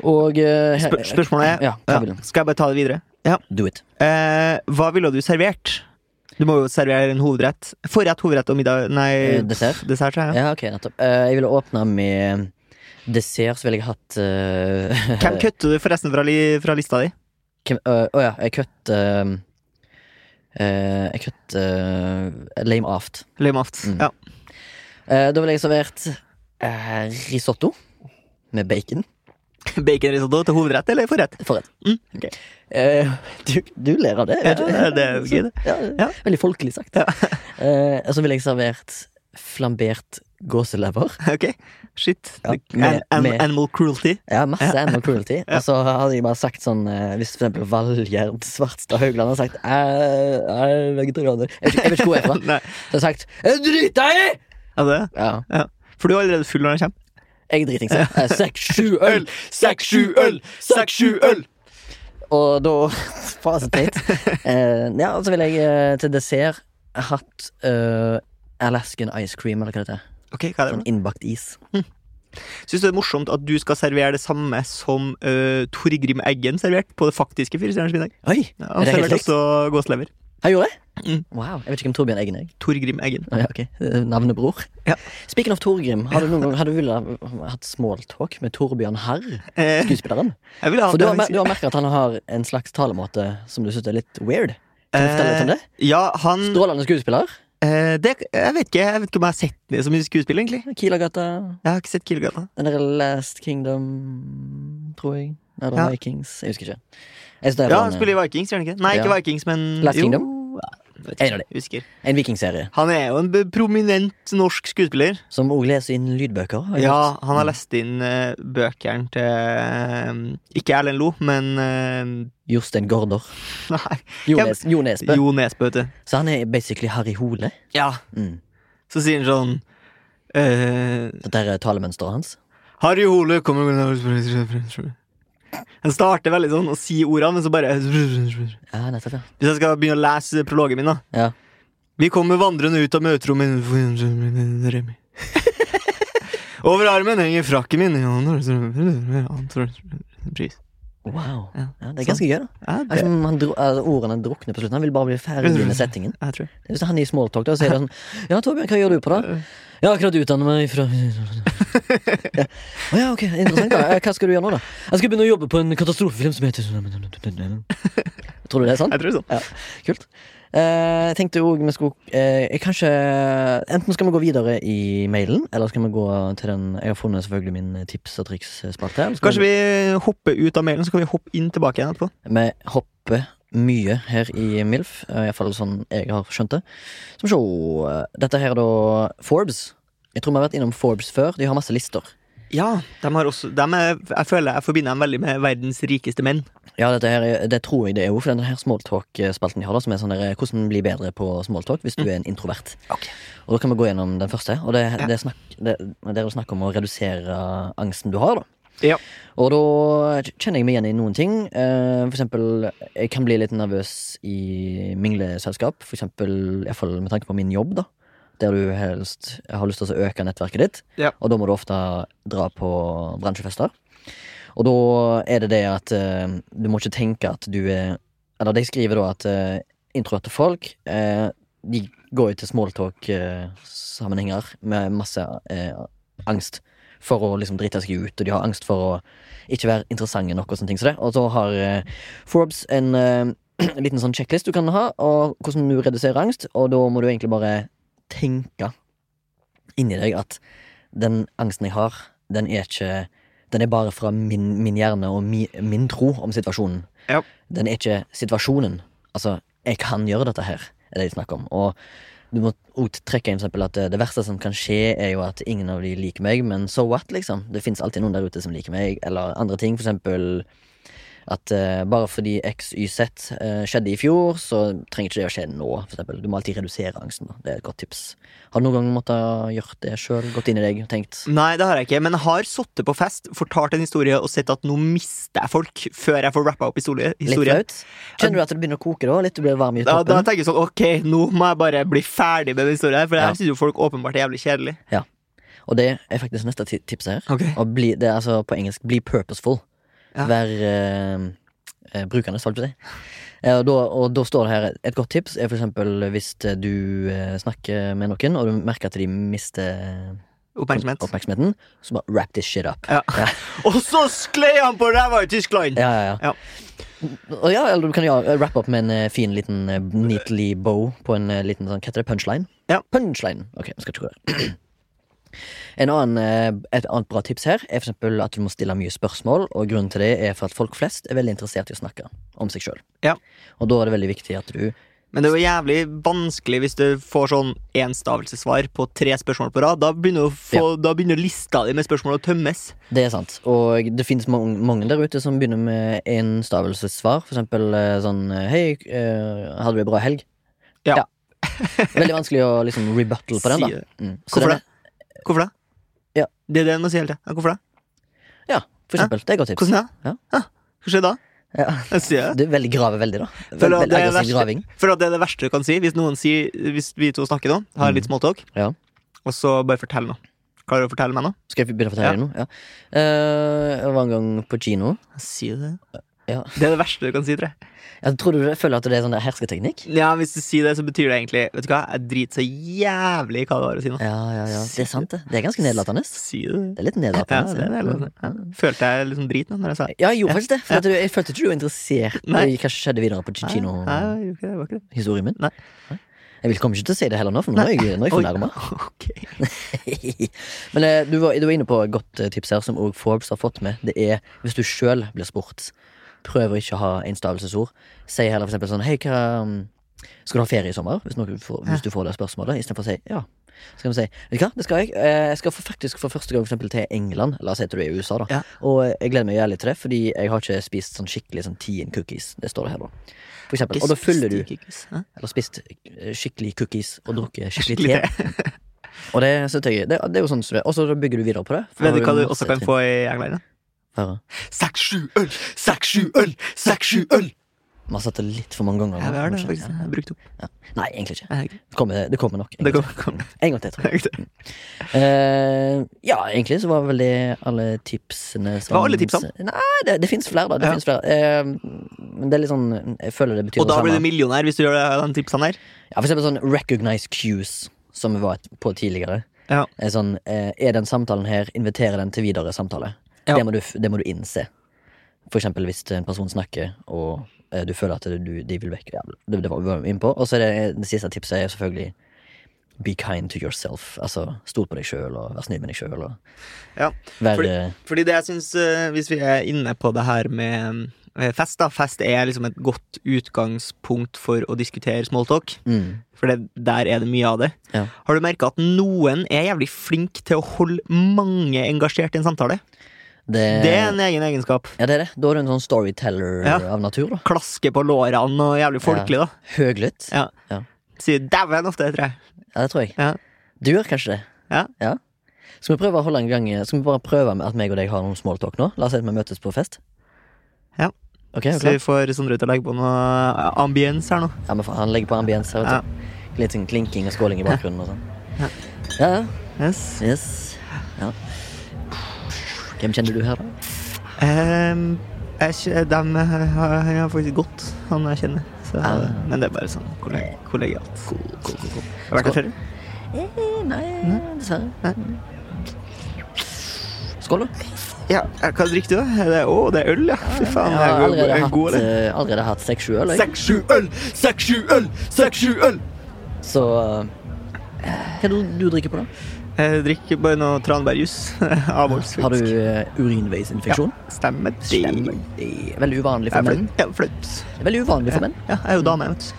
A: Og eh, he-
B: Spør spørsmålet er
A: Ja, hva
B: ja.
A: vil du?
B: Skal jeg bare ta det videre? Ja.
A: Do it.
B: Eh, hva ville du servert? Du må jo servere en hovedrett. Forrett, hovedrett og middag Nei,
A: Eh, dessert.
B: dessert sa jeg, ja.
A: Ja, ok, nettopp. Eh, jeg ville åpna med dessert, så ville jeg hatt eh,
B: Hvem kutter du forresten fra, li fra lista di?
A: (laughs) Hvem øh, Å ja, jeg kutt eh, eh, Jeg kutt eh, Lame aft.
B: Lame aft.
A: Mm.
B: Ja. (laughs)
A: Eh, da ville jeg servert eh, risotto med bacon.
B: Baconrisotto til hovedrett eller forrett? (laughs)
A: Forrett.
B: Mm, ok.
A: Eh, du, du ler av det.
B: Ja, det er jo gøy, det.
A: Ja,
B: Ja.
A: Veldig folkelig sagt. Eh, og så ville jeg servert flambert gåselever.
B: Ok, shit.
A: Ja,
B: Det-
A: med-
B: an
A: med-
B: Animal cruelty.
A: Ja, masse animal cruelty. Og så hadde jeg bare sagt sånn eh, Hvis for eksempel Valgjerd Svartstad Haugland hadde sagt «Eh, Jeg er vegetarianer. Jeg vet ikke- jeg vet ikke hvor jeg er fra.
B: (laughs) Nei,
A: Så hadde jeg sagt «Jeg driter deg i!
B: ja, det.
A: Ja,
B: Ja. For du er allerede full når den kommer.
A: jeg er driting, (laughs) så. Eh, Seks, sju øl! Seks, sju øl! Seks, sju øl! Og da (laughs) Faen, så teit. Eh, ja, og så vil jeg eh, til dessert hatt eh, Alaskan ice cream, eller hva det heter.
B: Ok, hva er det?
A: Sånn innbakt is.
B: Syns du det er morsomt at du skal servere det samme som uh, Torgrim Eggen serverte på det faktiske Firestjerners middag?
A: Oi!
B: Ja,
A: Er
B: han
A: det helt
B: serverte
A: likt?
B: også gåselever.
A: Han gjorde det?
B: Mm.
A: Wow. Jeg vet ikke hvem Torbjørn Eggen er. jeg.
B: Torgrim Eggen.
A: Å Ja, ok. Eh, Navnebror.
B: Ja.
A: Speaking of Torgrim, har du noen gang har du villet ha- hatt smalltalk med Torbjørn Herr,
B: Eh,
A: skuespilleren?
B: jeg ville
A: For
B: hatt
A: du har,
B: en-
A: mer- du har merket at han har en slags talemåte som du syns er litt weird. Kan du fortelle litt om det?
B: Ja, han
A: Strålende skuespiller.
B: eh, det, Jeg vet ikke Jeg vet ikke om jeg har sett det så mye skuespill, egentlig.
A: Kilagata.
B: Jeg har ikke sett Killegata.
A: Den der Last Kingdom, tror jeg. Eller
B: Ja.
A: Vikings. Jeg husker ikke. Jeg synes det er
B: Ja,
A: bra
B: han
A: med-
B: spiller i Vikings, gjør han ikke? det? Nei, ikke
A: Ja.
B: Vikings, men
A: Last
B: jo.
A: Kingdom? En av de.
B: Jeg Husker.
A: En vikingserie
B: Han er jo en b- prominent norsk skuespiller.
A: som òg leser inn lydbøker. har jeg
B: Ja,
A: hørt.
B: han har lest inn eh, bøkene til eh, Ikke Erlend Lo, men eh, (laughs)
A: Jostein Gaarder.
B: Nei,
A: Jo,
B: Ja,
A: Nes, jo Nesbø.
B: Jo Nesbø, vet du.
A: Så han er basically Harry Hole.
B: Ja.
A: Mm.
B: Så sier han sånn eh,
A: Dette her er talemønsteret hans.
B: Harry Hole kommer Han starter veldig sånn og sier ordene, men så bare eh, Hvis
A: Ja, nettopp, ja.
B: jeg skal begynne å lese prologen min, da.
A: Ja.
B: Vi kommer vandrende ut av møterommet Remi. (laughs) Over armen henger frakken min Pris.
A: Wow.
B: Ja,
A: Ja, det er ganske gøy, da.
B: Ja,
A: Det er
B: det
A: som om han dro, altså, ordene drukner på slutten. Han vil bare bli ferdig med settingen.
B: jeg tror
A: Hvis han er i smalltalk, da, så er det sånn Ja, Torbjørn, hva gjør du på, da? Jeg har akkurat utdannet meg fra (laughs) ja. Å ja, ok, interessant. da Eh, Hva skal du gjøre nå, da? Jeg skal begynne å jobbe på en katastrofefilm som heter (laughs) Tror du det er
B: (laughs)
A: sant?
B: Jeg tror det er sånn.
A: Ja, kult. Eh, Jeg tenkte òg vi skulle eh, Kanskje Enten skal vi gå videre i mailen, eller skal vi gå til den Jeg har funnet selvfølgelig min tips og triks-spalte. eller skal
B: Kanskje vi hopper ut av mailen, så kan vi hoppe inn tilbake igjen etterpå.
A: Vi hopper mye her i MILF, iallfall sånn jeg har skjønt det. Som sjå Dette her, er da. Forbes. Jeg tror vi har vært innom Forbes før. De har masse lister.
B: Ja, de har også de er, Jeg føler jeg forbinder dem veldig med verdens rikeste menn.
A: Ja, dette her, er- det tror jeg det er jo, for denne her smalltalk-spalten de har, da, som er sånn der, hvordan bli bedre på smalltalk hvis du er en introvert.
B: Mm. Ok.
A: Og Da kan vi gå gjennom den første. Og det,
B: Ja.
A: det, er snakk, det, det er jo snakk om å redusere angsten du har. da
B: Ja.
A: Og da kjenner jeg meg igjen i noen ting. Eh, For eksempel, jeg kan bli litt nervøs i mingleselskap. For eksempel, i hvert fall med tanke på min jobb, da. Der du helst har lyst til å øke nettverket ditt.
B: Ja.
A: Og da må du ofte dra på bransjefester. Og da er det det at eh, du må ikke tenke at du er Eller de skriver da at uh, introverte folk eh, De går jo til smalltalk-sammenhenger med masse eh, angst for å liksom drite seg ut, og de har angst for å ikke være interessante nok. Og sånne ting som det Og så har eh, Forbes en eh, (clears throat) liten sånn sjekklist du kan ha, og hvordan du reduserer angst. Og da må du egentlig bare tenke inni deg at den angsten jeg har, den er ikke Den er bare fra min, min hjerne og mi, min tro om situasjonen.
B: Ja.
A: Den er ikke situasjonen. Altså, jeg kan gjøre dette her, er det de snakker om. Og du må også trekke inn for eksempel at eh, det verste som kan skje, er jo at ingen av de liker meg, men so what, liksom? Det fins alltid noen der ute som liker meg, eller andre ting, for eksempel at eh, bare fordi XYZ eh, skjedde i fjor, så trenger ikke det å skje nå, for eksempel. Du må alltid redusere angsten, da. Det er et godt tips. Har du noen gang måttet gjort det sjøl? Gått inn i deg og tenkt
B: Nei, det har jeg ikke, men jeg har sittet på fest, fortalt en historie og sett at nå mister jeg folk før jeg får rappa opp historie.
A: litt
B: historie.
A: flaut? Kjenner du at det begynner å koke da? Litt du blir varm i
B: Da, da
A: toppen?
B: tenker jeg sånn, ok, nå må jeg bare bli ferdig med den historien her, for det
A: Ja.
B: her synes jo folk åpenbart er jævlig kjedelig.
A: Og det er faktisk neste ti- tipset her.
B: Ok.
A: Og bli, det er altså på engelsk 'bli purposeful'.
B: Ja.
A: Vær eh, eh, brukende, holdt jeg på å si. Eh, og da- Og da står det her et godt tips er for eksempel hvis eh, du eh, snakker med noen, og du merker at de mister
B: Oppmerksomhet.
A: oppmerksomheten, så bare wrap this shit up.
B: Ja. Og så sklei han på ræva i Tyskland!
A: Ja, ja, ja. Og ja, eller du kan ja, wrap opp med en eh, fin liten eh, neatly bow på en eh, liten sånn, hva heter det, punchline?
B: Ja.
A: Punchline. Ok, vi skal ikke gå der. (clears throat) En annen, eh, et annet bra tips her er for eksempel at du må stille mye spørsmål. Og grunnen til det er for at folk flest er veldig interessert i å snakke om seg sjøl.
B: Ja.
A: Og da er det veldig viktig at du
B: Men det er jo jævlig vanskelig hvis du får sånn enstavelsesvar på tre spørsmål på rad. Da begynner, å få, da begynner lista di med spørsmål å tømmes.
A: Det er sant. Og det finnes mange, mange der ute som begynner med enstavelsessvar. For eksempel eh, sånn eh, Hei, eh, hadde du ei bra helg?
B: Ja.
A: Veldig vanskelig å liksom rebuttal på den,
B: Sier
A: da.
B: det.
A: Mm. Så
B: Hvorfor
A: den
B: det? Hvorfor det?
A: Ja.
B: Det er det en må si hele tiden. Ja, Hvorfor det?
A: er- Ja, for eksempel. Det er et godt tips.
B: Hvordan det?
A: Ja.
B: Ja. Hva skjer da?
A: Ja.
B: Jeg sier det.
A: Du veldig graver veldig, da.
B: Føler
A: Veldig,
B: at
A: veldig
B: det er
A: aggressiv
B: verst-
A: graving.
B: For at det er det verste du kan si hvis, noen sier, hvis vi to snakker nå, har litt småtalk,
A: Mm. Ja.
B: og så bare fortell noe. Klarer du å fortelle meg noe?
A: Skal jeg begynne å fortelle deg noe? Ja. Eh, jeg var en gang på kino.
B: Si det.
A: Ja.
B: Det er det verste du kan si, tror jeg.
A: Jeg tror du jeg føler at det er sånn der hersketeknikk?
B: Ja, Hvis du sier det, så betyr det egentlig Vet du hva, jeg driter så jævlig i hva du har å si nå.
A: Ja, ja, ja. Det er sant, det. Det er ganske nedlatende.
B: Si det.
A: Det er litt
B: Ja,
A: nedlatende.
B: det er det. Ja. Følte jeg liksom drit nå når jeg sa det?
A: Ja, jeg gjorde faktisk det. For at du, jeg følte ikke du var interessert
B: Nei.
A: i hva som skjedde videre på kino.
B: Nei, jeg gjorde ikke det, det var ikke det.
A: historien min?
B: Nei.
A: Nei. Jeg vil- kommer ikke til å si det heller nå, for nå er jeg, nå er jeg fornærma.
B: (laughs) Ok.
A: (laughs) Men eh, du var, du var inne på et godt eh, tips her, som òg Forbes har fått med. Det er hvis du sjøl blir spurt, prøv å ikke ha enstavelsesord. Si heller for eksempel sånn Hei, hva mm, skal du ha ferie i sommer? Hvis, noen får, hvis du får det spørsmålet. Istedenfor å si ja. Så kan du si Vet du hva, det skal jeg. Eh, Jeg skal for- faktisk for første gang for eksempel, til England. La oss si at du er i USA, da.
B: Ja.
A: Og eh, jeg gleder meg jævlig til det, fordi jeg har ikke spist sånn skikkelig sånn tien cookies. Det står det her, da. For eksempel. Og da fyller du
B: Hæ?
A: eller spist eh, skikkelig cookies og drukket skikkelig
B: Skikkelig
A: te. Og det synes jeg det, det er jo sånn som det er. Og så bygger du videre på det. For
B: Vet
A: det
B: du
A: er
B: hva du
A: masse
B: også kan
A: trinn.
B: få i England? da?
A: Høre.
B: Seks, sju øl! Seks, sju øl! Seks, sju øl!
A: Man har sett det litt for mange ganger.
B: Ja,
A: nå,
B: vi har det,
A: kanskje.
B: faktisk. Jeg har brukt opp.
A: Ja. Nei, egentlig ikke.
B: Jeg har ikke-
A: Det kommer, det kommer nok. En,
B: Det
A: gang
B: kommer- kommer.
A: til. en gang til,
B: Jeg
A: tror jeg.
B: har ikke det.
A: Eh, ja, egentlig så var vel det alle tipsene som
B: Var alle tipsene?
A: Nei, det, det fins flere, da. Det
B: Ja.
A: finnes flere. Eh, men det er litt sånn Jeg føler det betyr
B: Og da
A: det
B: blir
A: samme.
B: du millionær hvis du gjør det- de tipsene her.
A: Ja, for eksempel sånn recognize cues, som vi var et- på tidligere.
B: Ja.
A: Er, sånn, eh, er den samtalen her, inviterer den til videre samtale.
B: Ja.
A: Det, må du, f- det må du innse. For eksempel hvis en person snakker, og eh, du føler at du, de vil vekk. Ja, det, det var vi var inne på. Og så er det, det siste tipset er selvfølgelig be kind to yourself. Altså stol på deg sjøl, og vær snill med deg sjøl, og
B: Ja,
A: vær
B: fordi-
A: eh,
B: Fordi det jeg synes, eh, Hvis vi er inne på det her med eh, fest, da. Fest er liksom et godt utgangspunkt for å diskutere smalltalk.
A: mm,
B: For det, der er det mye av det.
A: Ja.
B: Har du merka at noen er jævlig flink til å holde mange engasjert i en samtale?
A: det,
B: Det
A: Eh.
B: er en egen egenskap.
A: Ja, det er det. Da er du en sånn storyteller
B: Ja.
A: av natur, da.
B: Klaske på lårene og jævlig folkelig, da.
A: Høglytt.
B: Ja.
A: Ja.
B: Sier 'dæven' ofte, tror jeg.
A: Ja, det tror jeg.
B: Ja.
A: Du gjør kanskje det.
B: Ja.
A: Skal vi prøve å holde en gang Skal vi bare prøve med at meg og deg har noen smalltalk nå? La oss si at vi møtes på fest.
B: Ja.
A: Ok, er du
B: Så
A: klar?
B: vi får Sondre til å legge på noe eh, ambiens her nå.
A: Ja, men faen, han legger på ambiens her, vet du. Litt sånn klinking og skåling i bakgrunnen og sånn.
B: Ja.
A: Ja, ja.
B: Yes.
A: Yes. Ja. Hvem kjenner du her, da?
B: Ehm, jeg, kje- dem har- har jeg faktisk godt, han jeg kjenner. Så,
A: Ah.
B: Men det er bare sånn kolleg kollegialt. Har du vært
A: Skål.
B: her før?
A: Eh, nei, dessverre. Skål, da.
B: Ja, eh, hva drikker du, da? Er det, å, det er øl, ja. Fy faen.
A: Jeg har
B: jeg
A: allerede
B: er god,
A: hatt,
B: eller?
A: eh, allerede hatt seks sju øl, jeg.
B: Seks, sju øl! Seks, sju øl! Seks, sju øl!
A: Så eh, Hva er det du drikker på, da?
B: Jeg drikker bare noe tranbærjus. (laughs) Avholds,
A: Har du
B: faktisk.
A: eh, urinveisinfeksjon?
B: Ja, stemmer. det.
A: Det er Veldig uvanlig
B: Jeg
A: for
B: er
A: menn.
B: flaut. Jeg er flaut.
A: Det er Veldig uvanlig for menn.
B: Ja, jeg er jo dame, jeg, vet du.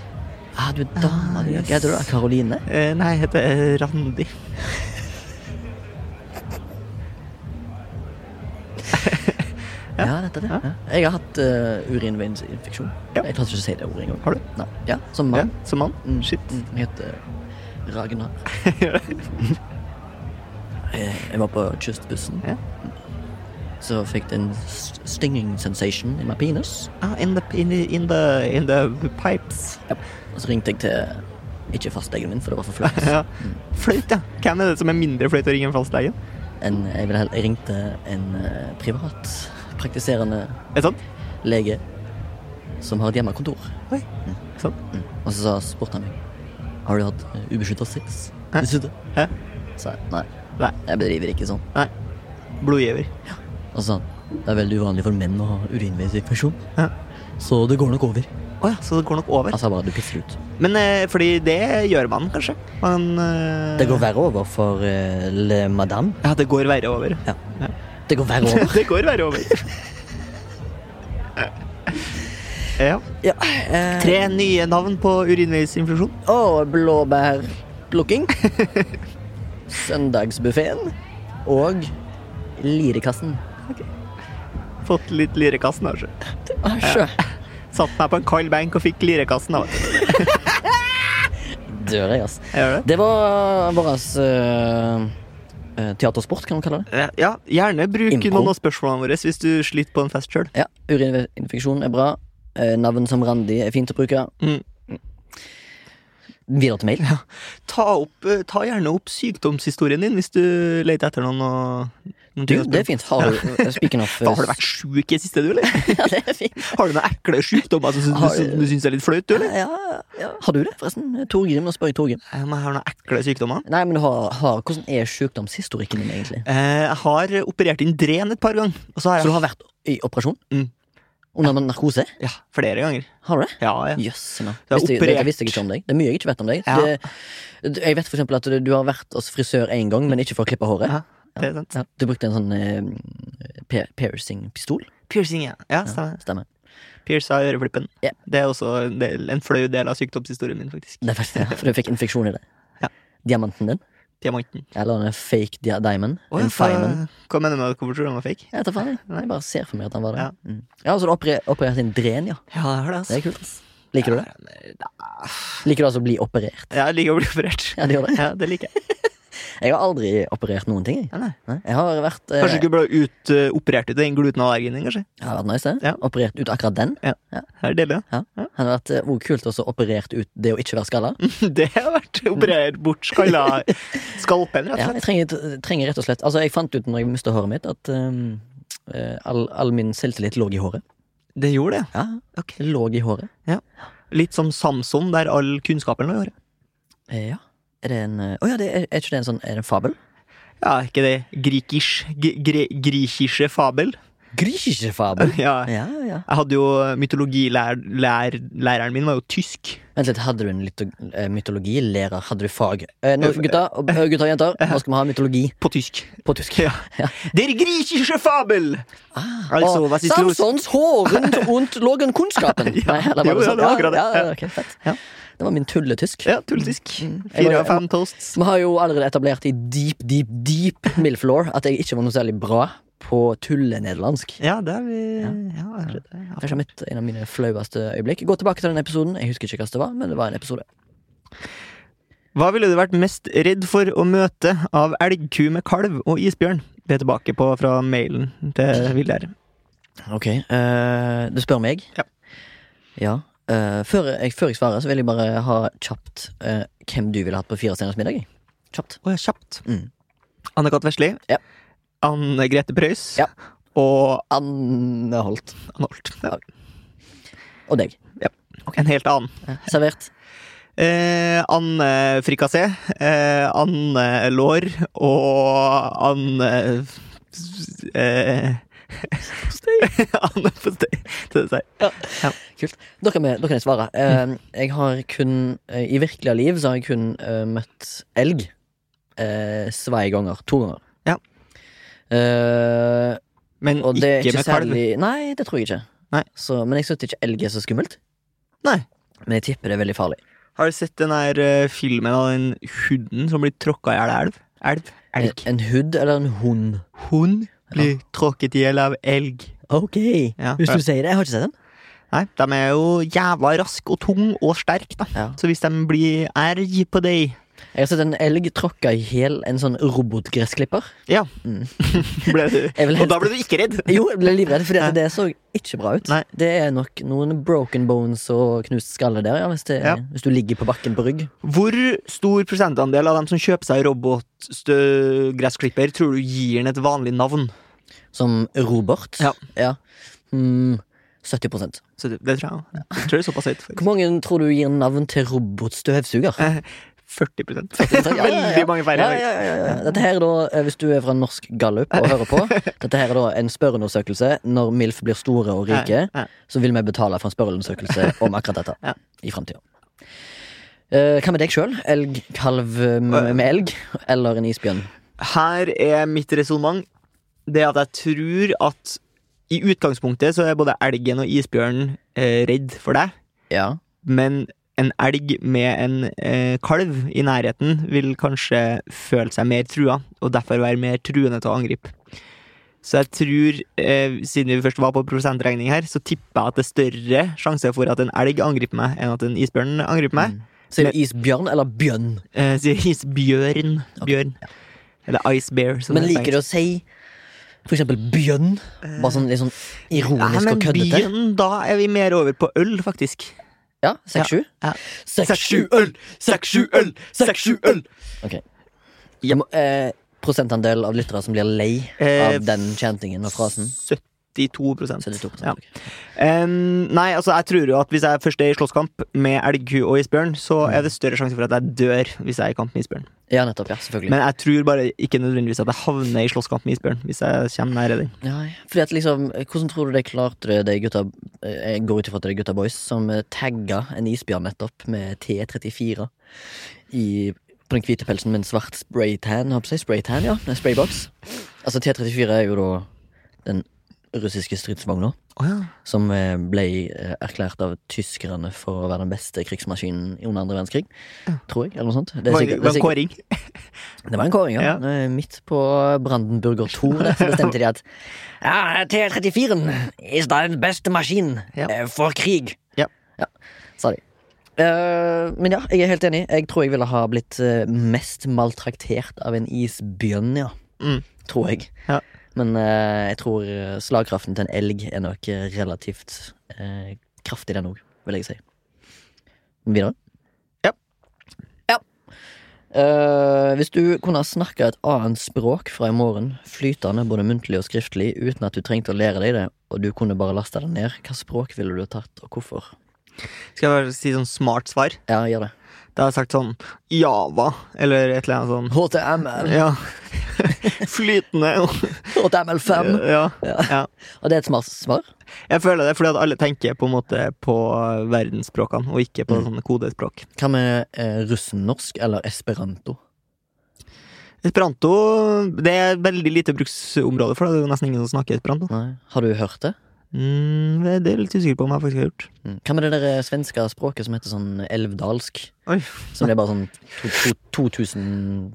A: Ah, du er dame. du. Hva
B: yes.
A: heter du? da? Karoline?
B: Eh, Nei, jeg heter Randi.
A: Ja, dette er det. Ja. Jeg har hatt uh, urinveisinfeksjon.
B: Ja.
A: Jeg klarte ikke å si det ordet engang.
B: Har du?
A: Nei. Ja, som
B: Ja,
A: mann.
B: som mann?
A: Mm.
B: Shit.
A: Mm, Jeg heter
B: (laughs)
A: Ragnar. Eh, jeg var på kystbussen.
B: Ja.
A: Så fikk det en st- stinging sensation i my penis.
B: Ah, in the, in, the- in, the, in the
A: (laughs)
B: pipes.
A: Og så ringte jeg til ikke fastlegen min, for det var for flaut.
B: Ja. Flaut, ja. Hvem er det som er mindre flaut å ringe enn fastlegen?
A: En- Jeg, vil hell- jeg ringte en eh, privat praktiserende
B: Er det sant?
A: lege som har et hjemmekontor.
B: Oi. Sant?
A: Og så sa- spurte han meg Har du hatt ubeskytta sex.
B: Hæ?
A: Dessuten
B: Hæ?
A: sa jeg nei.
B: Nei.
A: Jeg bedriver ikke sånn.
B: Nei. Blodgiver.
A: Og så sa han det er veldig uvanlig for menn å ha urinveisinfeksjon,
B: Ja.
A: så det går nok over.
B: Å ja, så det går nok over.
A: Han sa bare du pisser ut.
B: Men eh, fordi det gjør man kanskje. Man eh,
A: Det går verre over for eh, le madame.
B: Ja, det går verre over.
A: Ja. Det går verre over.
B: (laughs) det går verre over. ja.
A: (laughs) ja. eh,
B: Tre nye navn på urinveisinflusjon.
A: og blåbærplukking. Søndagsbuffeen. Og lirekassen.
B: Fått litt lirekassen, kanskje.
A: Asjø.
B: Satt meg på en kald benk og fikk lirekassen. av det.
A: Dør jeg, ass.
B: Gjør det?
A: Det var vår eh, teatersport, kan man kalle det.
B: Eh, Ja, gjerne bruk
A: Impro.
B: noen av spørsmålene våre hvis du sliter på en fest sjøl.
A: Ja, Urininfeksjon er bra. Eh, Navn som Randi er fint å bruke.
B: Mm.
A: Videre til mail.
B: Ta, opp, eh, ta gjerne opp sykdomshistorien din hvis du leter etter noen. Og, noen
A: Du,
B: ting å spørre
A: det er
B: om.
A: fint. Har du eh, Speaking of eh,
B: (laughs) Da har du vært sjuk i det siste, du, eller?
A: (laughs) Ja, det er fint.
B: (laughs) Har du noen ekle sykdommer som du,
A: Har
B: du,
A: du-
B: du syns er litt flaut, du, eller?
A: Ja, ja. Har du det, forresten? Tor Grim, nå spør jeg Tor Grim.
B: Eh, Om jeg har noen ekle sykdommer?
A: Nei, men har, har, Hvordan er sykdomshistorikken din, egentlig?
B: Eh, Jeg har operert inn dren et par ganger. Og så
A: Så
B: har jeg
A: du har vært i operasjon?
B: Mm.
A: Under narkose?
B: ja, flere ganger.
A: Har du det?
B: Ja, ja.
A: Jøss. nå.
B: Du er
A: Visste jeg-
B: operert.
A: Dette visste jeg ikke om deg. Det er mye jeg ikke vet om deg.
B: Ja.
A: Det, du- jeg vet for eksempel at du, du har vært hos frisør én gang, men ikke for å klippe håret.
B: Ja, det er sant.
A: Ja, Du brukte en sånn eh, pe- piercing-pistol.
B: Piercing, ja. ja stemmer.
A: Stemmer.
B: Pierce av øreflippen.
A: Ja.
B: Det er også en, del, en flau del av sykdomshistorien min, faktisk.
A: Det er faktisk, ja, for du fikk infeksjon i det.
B: Ja.
A: Diamanten din.
B: Diamanten.
A: Eller en fake dia diamond.
B: Å,
A: en
B: hva,
A: diamond.
B: hva mener du med at hvorfor tror du han var fake?
A: Jeg vet da faen. jeg. Jeg bare ser for meg at han var det.
B: Ja.
A: Mm. ja Så du operer- opererte inn dren, ja.
B: Ja, jeg har det,
A: Det altså. er kult. ass Liker du det?
B: altså.
A: Liker du altså å bli operert?
B: Jeg liker å bli operert.
A: Ja, det gjør det.
B: (laughs) Ja, det liker jeg.
A: Jeg har aldri operert noen ting. jeg.
B: Ja, nei.
A: Nei, Jeg har vært eh,
B: Kanskje du ikke ble ut, eh, operert ut av den glutenallergien din, kanskje?
A: Jeg har vært nice, det.
B: Ja.
A: Operert ut akkurat den.
B: Det er deilig,
A: Ja.
B: Ja.
A: Hadde vært eh, også kult også operert ut det å ikke være skalla.
B: da. Det har vært operert bort skalla skalpen, rett og
A: Ja, jeg
B: slett.
A: trenger, trenger rett og slett Altså, jeg fant ut når jeg mistet håret mitt, at ehm, eh, all, all min selvtillit lå i håret.
B: Det gjorde det.
A: Ja, ok Lå i håret.
B: Litt som Samson, der all kunnskapen lå i håret.
A: Eh, ja. Er det en eh, Å ja, det er, er ikke det en sånn Er det en fabel?
B: Ja, er ikke det grikisk gri- gri- Grikische fabel?
A: Griechische fabel.
B: Ja.
A: (laughs) Ja, ja.
B: Jeg hadde jo Mytologilæreren min var jo tysk.
A: Vent litt, hadde du en lito- eh, mytologilærer? Hadde du fag? Eh, nå, gutta, og, eh, gutter og
B: (laughs)
A: jenter, nå skal vi ha mytologi
B: På tysk.
A: på tysk.
B: Ja.
A: Ja.
B: Der grikiske fabel!
A: Ah,
B: Altså,
A: og
B: was ist los?
A: Samsons håren
B: (laughs)
A: und lågen kunnskapen.
B: Ja,
A: eller
B: jo, ja,
A: sånn.
B: det var akkurat det.
A: Ja, ja, ok, fett.
B: Ja.
A: Det var min tulletysk.
B: Ja, tulletysk.
A: Mm.
B: Fire av fem toasts.
A: Vi har jo allerede etablert i deep, deep, deep milflaw at jeg ikke var noe særlig bra på tullenederlandsk.
B: Ja, det er vi Ja, jeg tror det.
A: Kanskje mitt, en av mine flaueste øyeblikk. Gå tilbake til den episoden. Jeg husker ikke hva det var, men det var en episode.
B: Hva ville du vært mest redd for å møte av elgku med kalv og isbjørn? Be tilbake på fra mailen til Viljar.
A: Ok, eh, du spør meg?
B: Ja.
A: Ja, eh, før, jeg, før jeg svarer, så vil jeg bare ha kjapt eh, hvem du ville hatt på Firestjerners middag. jeg. Kjapt.
B: Å, ja, kjapt.
A: Mm.
B: Anne Kat. Vesli.
A: Ja.
B: Anne Grete Preus.
A: Ja.
B: Og
A: Anne Holt.
B: Anne Holt. Ja.
A: Og deg.
B: En helt annen.
A: Servert.
B: Eh, Anne Frikassé. Eh, Anne Lår. Og Anne eh, (laughs) Anne Postei. til dessert.
A: Kult. Da kan, vi, da kan jeg svare. Eh,
B: Mm.
A: jeg har kun eh, I virkelige liv så har jeg kun eh, møtt elg uh, svei ganger. To ganger.
B: Ja.
A: Eh,
B: Men
A: og det er
B: ikke
A: ikke
B: med kalv.
A: særlig Nei, det tror jeg ikke.
B: Nei.
A: Så, men jeg syns ikke elg er så skummelt.
B: Nei.
A: Men jeg tipper det er veldig farlig.
B: Har du sett den der eh, filmen av den hunden som blir tråkka i hjel av elv? Elv? Elg.
A: En, en hud eller en hund?
B: Hund blir tråkket i hjel av elg.
A: Ok,
B: Ja.
A: hvis du sier det. Jeg har ikke sett den.
B: Nei, de er jo jævla rask og tung og sterk, da.
A: Ja.
B: Så hvis de blir elg på
A: (laughs)
B: deg,
A: Jeg har sett en elg tråkka i hæl en sånn robotgressklipper.
B: ble du,
A: Jeg vil
B: og
A: helst-
B: da ble du ikke redd.
A: Jo, jeg ble livredd, for
B: Ja.
A: det så ikke bra ut.
B: Nei.
A: Det er nok noen broken bones og knust skalle der, ja, hvis, det,
B: Ja.
A: hvis du ligger på bakken på rygg.
B: Hvor stor prosentandel av dem som kjøper seg robotgressklipper, tror du gir den et vanlig navn?
A: Som Robert.
B: Ja.
A: Mm, 70
B: Så det, det tror jeg. Jeg tror det er såpass høyt.
A: (laughs)
B: faktisk.
A: Hvor mange tror du gir navn til robotstøvsuger?
B: 40 prosent.
A: Ja, ja, ja.
B: Veldig mange færre.
A: Ja, ja, ja, ja. Dette her er da, eh, hvis du er fra Norsk Gallup og hører (laughs) på, dette her er da en spørreundersøkelse. Når MILF blir store og rike,
B: Ja, ja.
A: så vil vi betale for en spørreundersøkelse om akkurat dette
B: Ja.
A: i framtida. Hva med deg sjøl? Elg, kalv eh, med med elg? Eller en isbjørn?
B: Her er mitt resonnement. Det at jeg tror at i utgangspunktet så er både elgen og isbjørnen eh, redd for deg,
A: Ja.
B: men en elg med en eh, kalv i nærheten vil kanskje føle seg mer trua, og derfor være mer truende til å angripe. Så jeg tror, eh, siden vi først var på prosentregning her, så tipper jeg at det er større sjanse for at en elg angriper meg, enn at en isbjørn angriper
A: Mm.
B: meg.
A: Sier du isbjørn eller bjørn?
B: Eh, sier isbjørn. Bjørn. Eller ice bear. som
A: Men
B: det er på
A: liker du å si for eksempel bjørn? Bare sånn litt sånn
B: Nei,
A: ironisk
B: men
A: og køddete?
B: byen, da er vi mer over på øl, faktisk.
A: Ja, seks-sju?
B: Ja.
A: Seks-sju!
B: øl, seks, sju øl, seks, sju øl!
A: Ok.
B: Ja.
A: Eh, prosentandel av lyttere som blir lei
B: Eh,
A: av den chantingen og frasen?
B: 72
A: 72
B: Ja.
A: ok.
B: Em, Nei, altså, jeg tror jo at hvis jeg først er i slåsskamp med elgku og isbjørn, så er det større sjanse for at jeg dør hvis jeg er i kamp med isbjørn.
A: ja, nettopp. Ja, selvfølgelig.
B: Men jeg tror bare ikke nødvendigvis at jeg havner i slåsskamp med isbjørn hvis jeg kommer nære den.
A: Ja, ja. fordi at liksom, hvordan tror du de klarte det, de gutta eh, Jeg går ut ifra at det er gutta boys som eh, tagga en isbjørn nettopp med T34 i, på den hvite pelsen med en svart spraytan, holdt på å si. Spraytan, ja. Nei, spraybox. Altså, T34 er jo da den russiske stridsvogna.
B: Å ja.
A: som eh, ble eh, erklært av tyskerne for å være den beste krigsmaskinen under andre verdenskrig. Tror jeg, eller noe sånt. Det, er
B: Var
A: sikkert, det, er
B: var en
A: sikkert,
B: kåring?
A: det var en kåring, ja.
B: Ja.
A: Eh, Midt på Brandenburger Tor der, så bestemte de at ja, T-34-en er den beste maskinen
B: Ja.
A: eh, for krig.
B: Ja.
A: sa de. Eh, men ja, jeg er helt enig. Jeg tror jeg ville ha blitt eh, mest maltraktert av en isbjørn, ja.
B: Mm.
A: Tror jeg.
B: Ja.
A: Men eh, jeg tror eh, slagkraften til en elg er nok eh, relativt eh, kraftig, den òg, vil jeg si. Videre?
B: Ja.
A: Ja. Eh, hvis du kunne snakka et annet språk fra i morgen, flytende både muntlig og skriftlig, uten at du trengte å lære deg det, og du kunne bare lasta det ned, hva språk ville du ha tatt, og hvorfor?
B: Skal jeg bare si sånn smart svar?
A: Ja, gjør det.
B: Da har jeg sagt sånn Java, eller et eller annet sånn.
A: HTML.
B: Ja. (laughs) Flytende og
A: HTML5.
B: Ja.
A: Ja.
B: ja.
A: Og det er et smart svar?
B: Jeg føler det fordi at alle tenker på en måte på verdensspråkene, og ikke på sånne kodespråk.
A: Hva med eh, russen-norsk eller esperanto?
B: Esperanto det er veldig lite bruksområde for det. Det er jo nesten ingen som snakker esperanto.
A: Nei. Har du hørt det?
B: Mm, det det er jeg litt usikker på om jeg faktisk har gjort.
A: Mm. Hva med det der eh, svenske språket som heter sånn elvdalsk?
B: Oi.
A: Som det er bare sånn to- to- 2000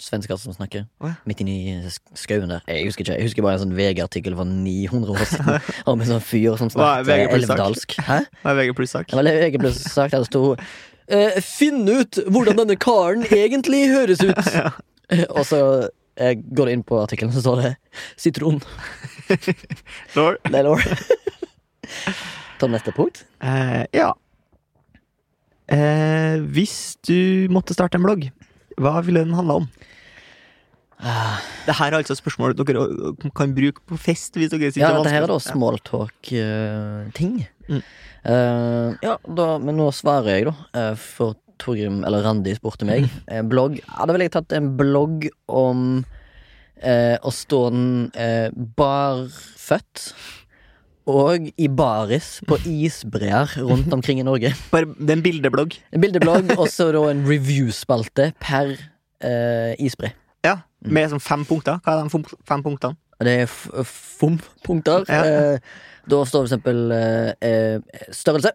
A: svensker som snakker.
B: Å ja.
A: Midt inni sk- skauen der. Jeg husker ikke, jeg husker bare en sånn VG-artikkel fra 900 år
B: (laughs)
A: siden om en sånn fyr som
B: Hva er
A: snakket
B: VG pluss sak?
A: elvdalsk. Hæ?
B: Det er VG pluss-sak.
A: Det var VG pluss sagt at det sto
C: eh, finne ut hvordan denne karen egentlig høres
B: (laughs)
C: ut.
A: (laughs) Og så eh, går det inn på artikkelen, så står det sitron.
B: Lord.
A: Det er lov. (laughs) Ta neste punkt.
B: Eh, ja. Eh, hvis du måtte starte en blogg, hva ville den handla om?
A: Ah,
B: Det her er altså spørsmål dere eh, kan bruke på fest. hvis dere synes
A: ja,
B: det er
A: dette her er da
B: vanskelig.
A: smalltalk-ting.
B: Mm.
A: Eh, ja, da, men nå svarer jeg, da. eh, for Torgrim, eller Randi, spurte meg.
B: Mm.
A: En blogg. Ja, da ville jeg tatt en blogg om eh, å stå den eh, barføtt. Og i baris på isbreer rundt omkring i
B: (laughs)
A: Norge.
B: Ja. Bare, det er en bildeblogg.
A: En bildeblogg og så da en review-spalte per eh, isbre.
B: Ja,
A: Mm.
B: Med sånn fem punkter. Hva er de fem- fem punktene?
A: Og Det er f- FOM-punkter.
B: Ja.
A: Eh, da står det for eksempel eh, eh, størrelse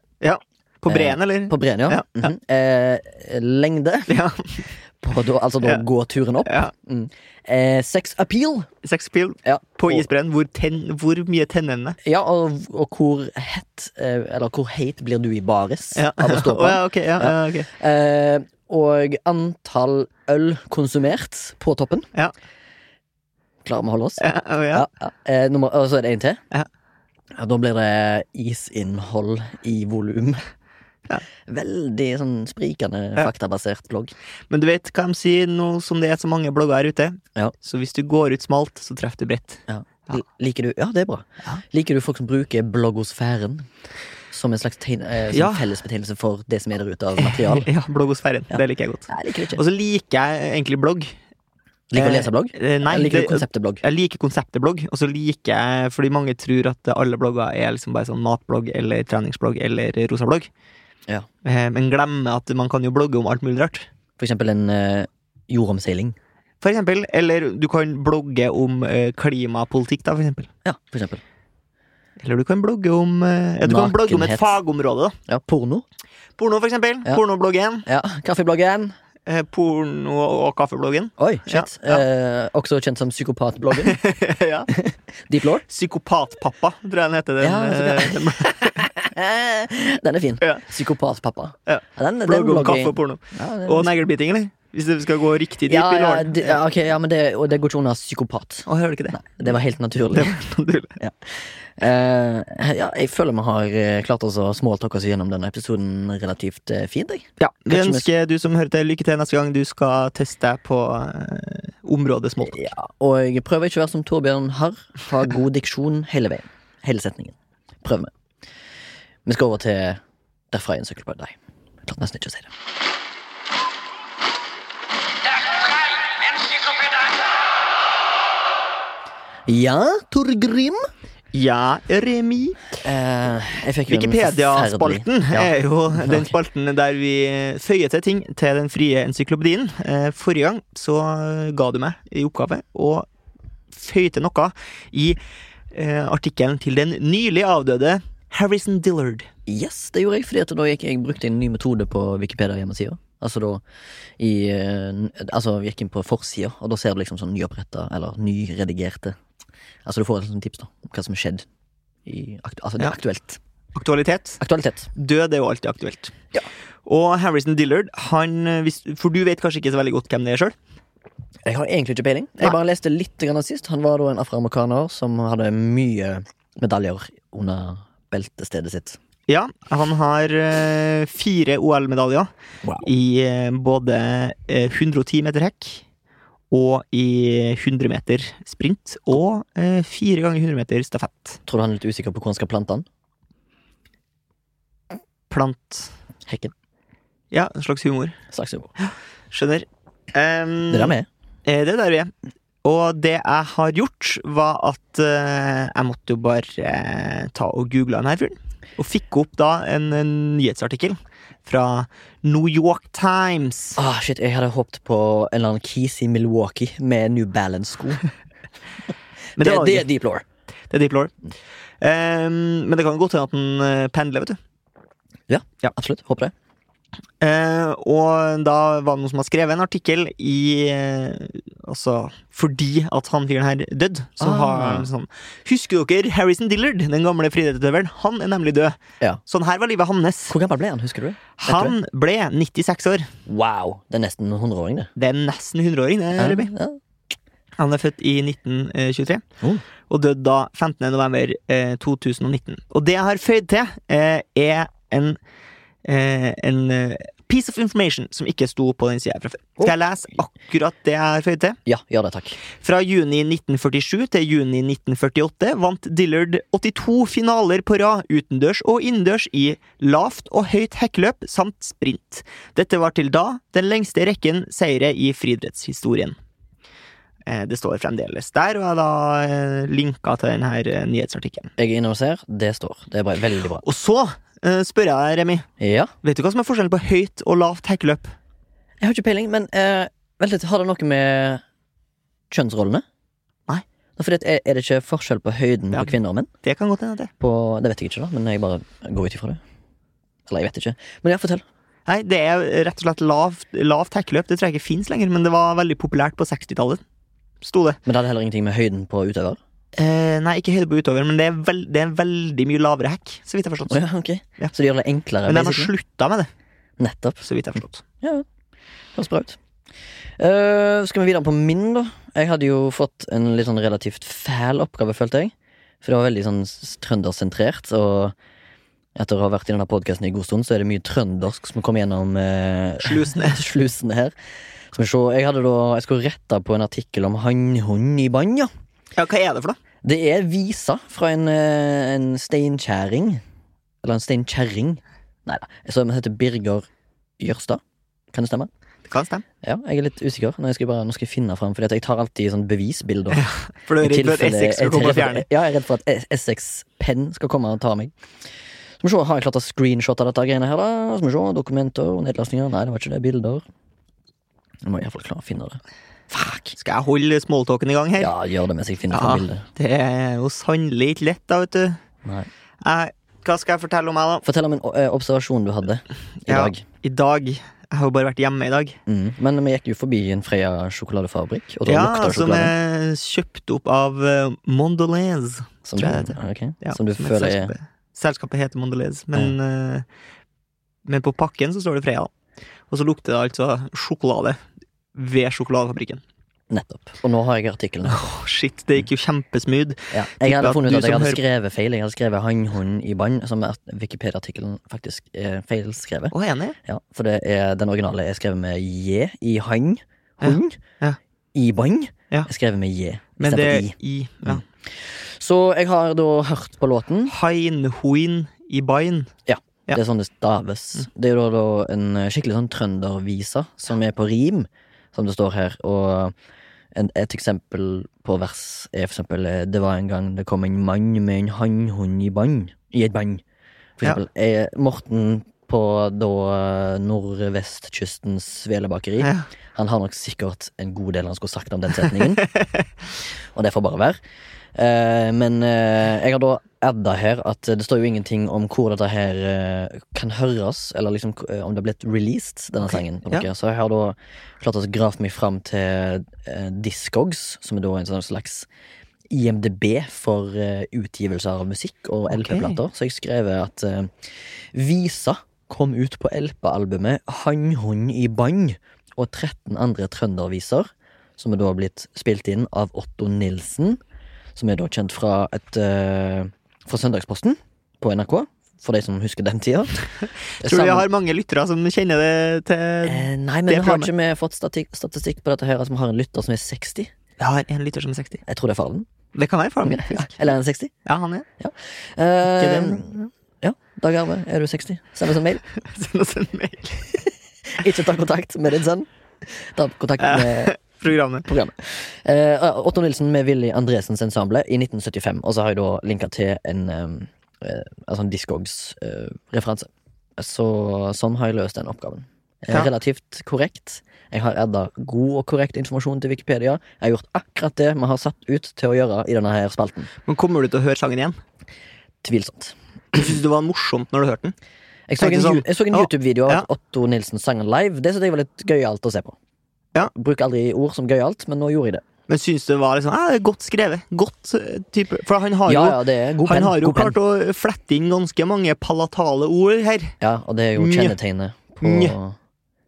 B: På
A: Eh,
B: breen, eller?
A: på breen, ja.
B: Ja, ja.
A: Mhm. eh, lengde,
B: Ja,
A: på, da, altså da
B: Ja.
A: går turen opp.
B: ja.
A: Eh, sex appeal.
B: Sex appeal
A: Ja,
B: på
A: og,
B: isbreen. Hvor, tenn- hvor mye tennene?
A: ja, og, og hvor hett eh, Eller hvor heit blir du i baris
B: Ja.
A: av å stå
B: (laughs) Å,
A: på?
B: ja, ok, ja, ja. ok.
A: Eh, og antall øl konsumert på toppen.
B: Ja.
A: Klarer vi å holde oss?
B: Ja, å, ja.
A: Ja, ja. Eh, nummer, og så er det en til.
B: Ja.
A: Ja, da blir det isinnhold i volum.
B: Ja.
A: Veldig sånn sprikende
B: Ja.
A: faktabasert blogg.
B: Men du vet hva de sier nå som det er så mange blogger her ute?
A: Ja.
B: Så hvis du går ut smalt, så treffer du bredt. Ja.
A: L- Liker du Ja, det er bra.
B: Ja.
A: Liker du folk som bruker bloggosfæren som en slags tegn, eh, som
B: Ja.
A: fellesbetegnelse for det som er der ute av material?
B: (laughs) Ja, bloggosfæren.
A: Ja.
B: Det liker jeg godt.
A: Nei, liker det
B: Og
A: ikke.
B: så liker jeg egentlig blogg.
A: Liker du å lese blogg?
B: Eh, Nei,
A: Eller liker du
B: det-
A: konseptet blogg?
B: jeg liker konseptet blogg, og så liker jeg Fordi mange tror at alle blogger er liksom bare sånn matblogg eller treningsblogg eller rosa blogg.
A: Ja.
B: Eh, Men glemmer at man kan jo blogge om alt mulig rart.
A: For eksempel en eh, jordomseiling.
B: For eksempel. Eller du kan blogge om eh, klimapolitikk, da, for eksempel.
A: Ja, for eksempel.
B: Eller du kan blogge om eh, ja, Du kan blogge om et
A: Nakenhet.
B: fagområde, da.
A: Ja, porno.
B: Porno, for eksempel.
A: Ja.
B: Pornobloggen.
A: Ja, Kaffebloggen.
B: eh, Porno- og kaffebloggen. (laughs)
A: Oi, shit.
B: Ja, ja.
A: Eh, også kjent som
B: (laughs)
A: psykopatbloggen.
B: ja.
A: Deep Law.
B: Psykopatpappa, tror jeg den heter. Den,
A: Ja, altså,
B: eh,
A: så
B: den
A: Eh, (laughs) Den er fin.
B: Ja.
A: Psykopatpappa.
B: Ja.
A: (laughs) Den, den
B: blogg om
A: blogger jeg-
B: kaffe og porno.
A: Ja, den-
B: Og neglbiting, eller? Hvis det skal gå riktig dypt
A: ja,
B: i
A: ja,
B: låren.
A: det, ja, ok, ja, men det, og det går ikke under psykopat.
B: Å, hører du ikke det?
A: Det var helt naturlig.
B: (laughs) Det var naturlig.
A: Eh, ja, jeg føler vi har eh, klart oss å småtalke oss gjennom denne episoden relativt eh, fint. Jeg.
B: Ja, Vi
A: Kanskje vi-
B: ønsker du som hører til, lykke til neste gang du skal teste deg på eh, området småtalk.
A: Ja, og jeg prøver ikke å være som Torbjørn Harr. Ha god diksjon hele veien. Hele setningen. Prøv med. Vi skal over til derfra i en sykkelpod. Nei, jeg klarte nesten ikke å si det.
D: Derfra i en psykopedat.
A: Ja, Torgrim.
B: Ja, Remi.
A: Eh, jeg fikk jo en
B: Wikipedia-spalten
A: forferdelig- Ja.
B: er
A: (laughs)
B: jo den
A: Ok.
B: spalten der vi føyer til ting til den frie encyklopedien. Eh, Forrige gang så ga du meg i oppgave å føye til noe i eh, artikkelen til den nylig avdøde Harrison Dillard.
A: Yes, det gjorde jeg, fordi at da gikk, jeg brukte en ny metode på Wikipedia-hjemmesida. Altså da i, eh, n- altså gikk inn på forsida, og da ser du liksom sånn nyoppretta eller nyredigerte Altså du får et sånt tips da om hva som har skjedd i aktu altså, det er
B: Ja.
A: aktuelt.
B: Aktualitet.
A: Aktualitet.
B: Død er jo alltid aktuelt.
A: Ja.
B: Og Harrison Dillard, han hvis, For du vet kanskje ikke så veldig godt hvem det er sjøl?
A: Jeg har egentlig ikke peiling. Jeg
B: Nei.
A: bare leste litt grann sist. Han var da en afroamerikaner som hadde mye medaljer under beltestedet sitt.
B: Ja, han har eh, fire OL-medaljer.
A: Wow.
B: I eh, både eh, 110 meter hekk og i 100 meter sprint. Og eh, fire ganger 100 meter stafett.
A: Tror du han er litt usikker på hvor han skal plante han?
B: Plant
A: Hekken.
B: Ja, en slags humor.
A: Slags humor.
B: Skjønner. Em,
A: Det der med.
B: eh, det er der vi er. Og det jeg har gjort, var at eh, jeg måtte jo bare eh, ta og google den her fyren. Og fikk opp da en, en nyhetsartikkel fra New York Times.
A: Ah, shit, jeg hadde håpet på en eller annen Keys i Milwaukee med New Balance-sko.
B: Men
A: det,
B: var jo
A: det
B: ikke-
A: er deep lore.
B: Det er Deep Lore. Ehm, men det kan godt hende at den eh, pendler, vet du.
A: Absolutt. Håper det.
B: Ehm, Eh, og da var det noen som har skrevet en artikkel i eh, Altså, fordi at han fyren her døde, så
A: Ah.
B: har han sånn Husker dere Harrison Dillard, den gamle friidrettsutøveren? Han er nemlig død.
A: Ja.
B: Sånn her var livet hans.
A: Hvor gammel ble han, husker du? det? Vet du det?
B: Han ble 96 år.
A: Wow, det er nesten en hundreåring, det.
B: Det er nesten 100-åring, det,
A: Ja,
B: Ruby.
A: ja.
B: Han er født i 1923
A: Oh.
B: og døde da 15. november eh, 2019. Og det jeg har føyd til, eh, er en, eh, en eh, piece of information som ikke sto på den sida fra før. Skal jeg lese akkurat det jeg har føyd til?
A: Ja, gjør det, takk.
B: Fra juni 1947 til juni 1948 vant Dillard 82 finaler på rad utendørs og innendørs i lavt og høyt hekkeløp samt sprint. Dette var til da den lengste rekken seire i friidrettshistorien. Eh, Det står fremdeles der, og jeg har da eh, linka til denne eh, nyhetsartikkelen.
A: Jeg er inne og ser. Det står. Det er bra. veldig bra.
B: Og så eh, spør jeg deg, Remi,
A: Ja.
B: vet du hva som er forskjellen på høyt og lavt hekkeløp?
A: Jeg har ikke peiling, men eh, vent litt, har det noe med kjønnsrollene?
B: Nei.
A: Nå, fordi at, eh, er, er det ikke forskjell på høyden
B: Ja.
A: på kvinner og menn?
B: Det kan godt hende, det.
A: På, det vet jeg ikke, da, men jeg bare går ut ifra det. Eller jeg vet ikke. Men ja, fortell.
B: Nei, det er rett og slett lavt, lavt hekkeløp. Det tror jeg ikke fins lenger, men det var veldig populært på 60-tallet. Sto det.
A: Men det hadde heller ingenting med høyden på utøver?
B: Eh, nei, ikke høyde på utover, men det er, vel, det er veldig mye lavere hekk. Så vidt jeg har forstått.
A: Å ja, ok.
B: Ja.
A: Så de gjør det enklere?
B: Men de har
A: basically?
B: slutta med det.
A: Nettopp.
B: Så vidt jeg har forstått
A: Høres bra ut. Eh, skal vi videre på min, da? Jeg hadde jo fått en litt sånn relativt fæl oppgave, følte jeg. For det var veldig sånn s- trøndersentrert, og etter å ha vært i denne podkasten i god stund, så er det mye trøndersk som kommer gjennom eh, (laughs)
B: Slusene.
A: slusene her. Skal vi se, jeg hadde da Jeg skulle rette på en artikkel om hannhund i bann, ja.
B: Ja, hva er det for noe?
A: Det er visa fra en, eh, en steinkjæring. Eller en steinkjerring. Nei da. Som heter Birger Jørstad. Kan det stemme?
B: Det kan stemme.
A: Ja, jeg er litt usikker. Nå skal jeg, bare, nå skal jeg finne fram, for jeg tar alltid sånn
B: (laughs)
A: bevisbilder.
B: For du
A: I
B: er redd for at
A: tilfelle-
B: Essex skal
A: jeg-
B: komme og
A: jeg-
B: fjerne det?
A: Ja, jeg er redd for at E- Essex Penn skal komme og ta meg. Skal vi se, Har jeg klart å screenshotte dette greiene her, da? Skal vi se, Dokumenter og nedlastninger. Nei, det var ikke det. Bilder. Jeg må iallfall klare å finne det. Fuck!
B: Skal jeg holde smalltalken i gang her?
A: Ja, gjør det mens jeg finner
B: Ja,
A: fram bildet.
B: Det er jo sannelig ikke lett, da, vet du.
A: Nei.
B: Jeg, hva skal jeg fortelle om meg, da?
A: Fortell om en eh, observasjon du hadde i
B: Ja.
A: dag.
B: I dag Jeg har jo bare vært hjemme i dag.
A: Mm. Men vi gikk jo forbi en Freia sjokoladefabrikk, og da
B: Ja,
A: lukta
B: Som
A: sjokolade.
B: er kjøpt opp av eh, Mondelez.
A: Som,
B: tror jeg
A: du,
B: det
A: Ah, ok,
B: Ja,
A: som du
B: er
A: føler Mm. er
B: selskapet. Selskapet heter Mondelez, men, eh, men på pakken så står det Freia. Og så lukter det altså sjokolade ved sjokoladefabrikken.
A: Nettopp. Og nå har jeg artikkelen.
B: Åh, shit, det
A: Mm.
B: gikk jo kjempesmooth.
A: Ja.
B: Tipper
A: Jeg hadde
B: at
A: funnet ut
B: du
A: at jeg
B: som
A: hadde
B: hører-
A: skrevet feil. Jeg hadde skrevet hannhund i bann, som er at Wikipedia-artikkelen faktisk er feilskrevet.
B: Å, enig?
A: Ja, for det er, den originale er skrevet med j i hann, hund,
B: Ja.
A: i bann.
B: Ja.
A: Er skrevet med j
B: Men det er
A: istedenfor i. Mm.
B: i ja.
A: Så jeg har da hørt på låten.
B: Heinhoin i Bain. Ja. Mm.
A: Det er sånn det staves. Det er jo da, da en eh, skikkelig sånn trøndervisa som er på rim, som det står her. Og en, et eksempel på vers er for eksempel eh, Det var en gang det kom en mann med en hannhund i bann. I et bann. For
B: Ja.
A: eksempel eh, Morten på da eh, nordvestkystens svelebakeri.
B: Ja.
A: Han har nok sikkert en god del han skulle sagt om den setningen. og det får bare være. Eh, men eh, jeg har da adda her at det står jo ingenting om hvor dette her eh, kan høres, eller liksom eh, om det har blitt released, denne sangen. på noe. Så jeg har da klart å grave meg fram til eh, Discogs, som er da en sånn slags IMDb for eh, utgivelser av musikk og LP-plater. Så jeg skrev at eh, Visa kom ut på LP-albumet Hannhund i bann og 13 andre trønderviser, som er da blitt spilt inn av Otto Nilsen, som er da kjent fra, et, eh, fra Søndagsposten på NRK, for de som husker den
B: (laughs)
A: tida.
B: Tror du jeg har mange lyttere som kjenner det til
A: Eh, nei, men
B: det
A: har
B: programmet?
A: ikke vi fått statistikk, statistikk på dette her, som har en lytter som er 60?
B: Jeg har en lytter som er 60.
A: Jeg tror det er faren.
B: Det kan være faren min.
A: Ja, Eller er han 60?
B: Ja, han er.
A: Eh,
B: Ikke
A: ja, Dag Arve, er du 60? Send oss en mail.
B: (laughs) Send oss en mail.
A: Ikke ta kontakt med din sønn. Ta kontakt
B: Ja.
A: med
B: Programmet.
A: programmet. Eh, Otto Nilsen med Willy Andresens ensemble i 1975. Og så har jeg da linka til en, eh, eh, altså en Discogs-referanse. så sånn har jeg løst den oppgaven. Eh,
B: Ja.
A: Relativt korrekt. Jeg har adda god og korrekt informasjon til Wikipedia. Jeg har gjort akkurat det vi har satt ut til å gjøre i denne her spalten.
B: Men kommer du til å høre sangen igjen?
A: Tvilsomt.
B: Syns du det var morsomt når du hørte den?
A: Jeg så en,
B: Tenkte sånn,
A: Ju- jeg så en
B: «Å,
A: YouTube-video av
B: ja.
A: at Otto Nilsen sang den live. Det syntes jeg var litt gøyalt å se på.
B: Ja.
A: Bruker aldri ord som gøyalt, men nå gjorde jeg det.
B: Men syns du det var liksom, «Ah, det er godt skrevet? Godt eh, type For han har jo,
A: Ja, ja, det er god
B: han
A: penn.
B: har jo
A: god penn.
B: klart å flette inn ganske mange palatale ord her.
A: Ja, og det er jo
B: Nja.
A: kjennetegnet på
B: Nja.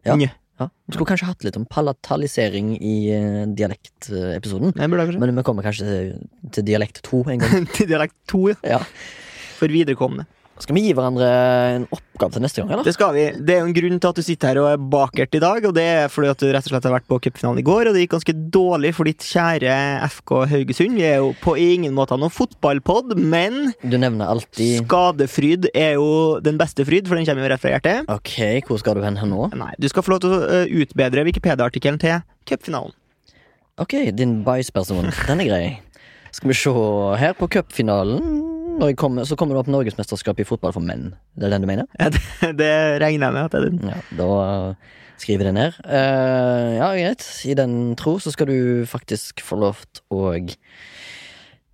A: Ja.
B: Nja.
A: Ja. Vi skulle kanskje hatt litt om palatalisering i eh, dialektepisoden.
B: Jeg burde kanskje
A: Men vi kommer kanskje til, til dialekt to en
B: (laughs)
A: gang.
B: Til dialekt to, ja.
A: Ja.
B: For viderekomne.
A: Skal vi gi hverandre en oppgave til neste gang, eller?
B: Det skal vi. Det er jo en grunn til at du sitter her og er bakert i dag, og det er fordi at du rett og slett har vært på cupfinalen i går, og det gikk ganske dårlig for ditt kjære FK Haugesund. Vi er jo på ingen måte noen fotballpod, men
A: Du nevner alltid
B: skadefryd er jo den beste fryd, for den kommer jo rett fra hjertet.
A: Ok, hvor skal du hen her nå?
B: Nei, du skal få lov til å ø, utbedre Wikipedia-artikkelen til cupfinalen.
A: Ok, din bæsj-person. Den er grei. Skal vi se her på cupfinalen. Når jeg kommer, så kommer det opp Norgesmesterskapet i fotball for menn. Det er den du mener?
B: Ja, det, det regner jeg med at det er den.
A: Ja, da skriver jeg det ned. Eh, ja, greit. I den tro så skal du faktisk få lov til å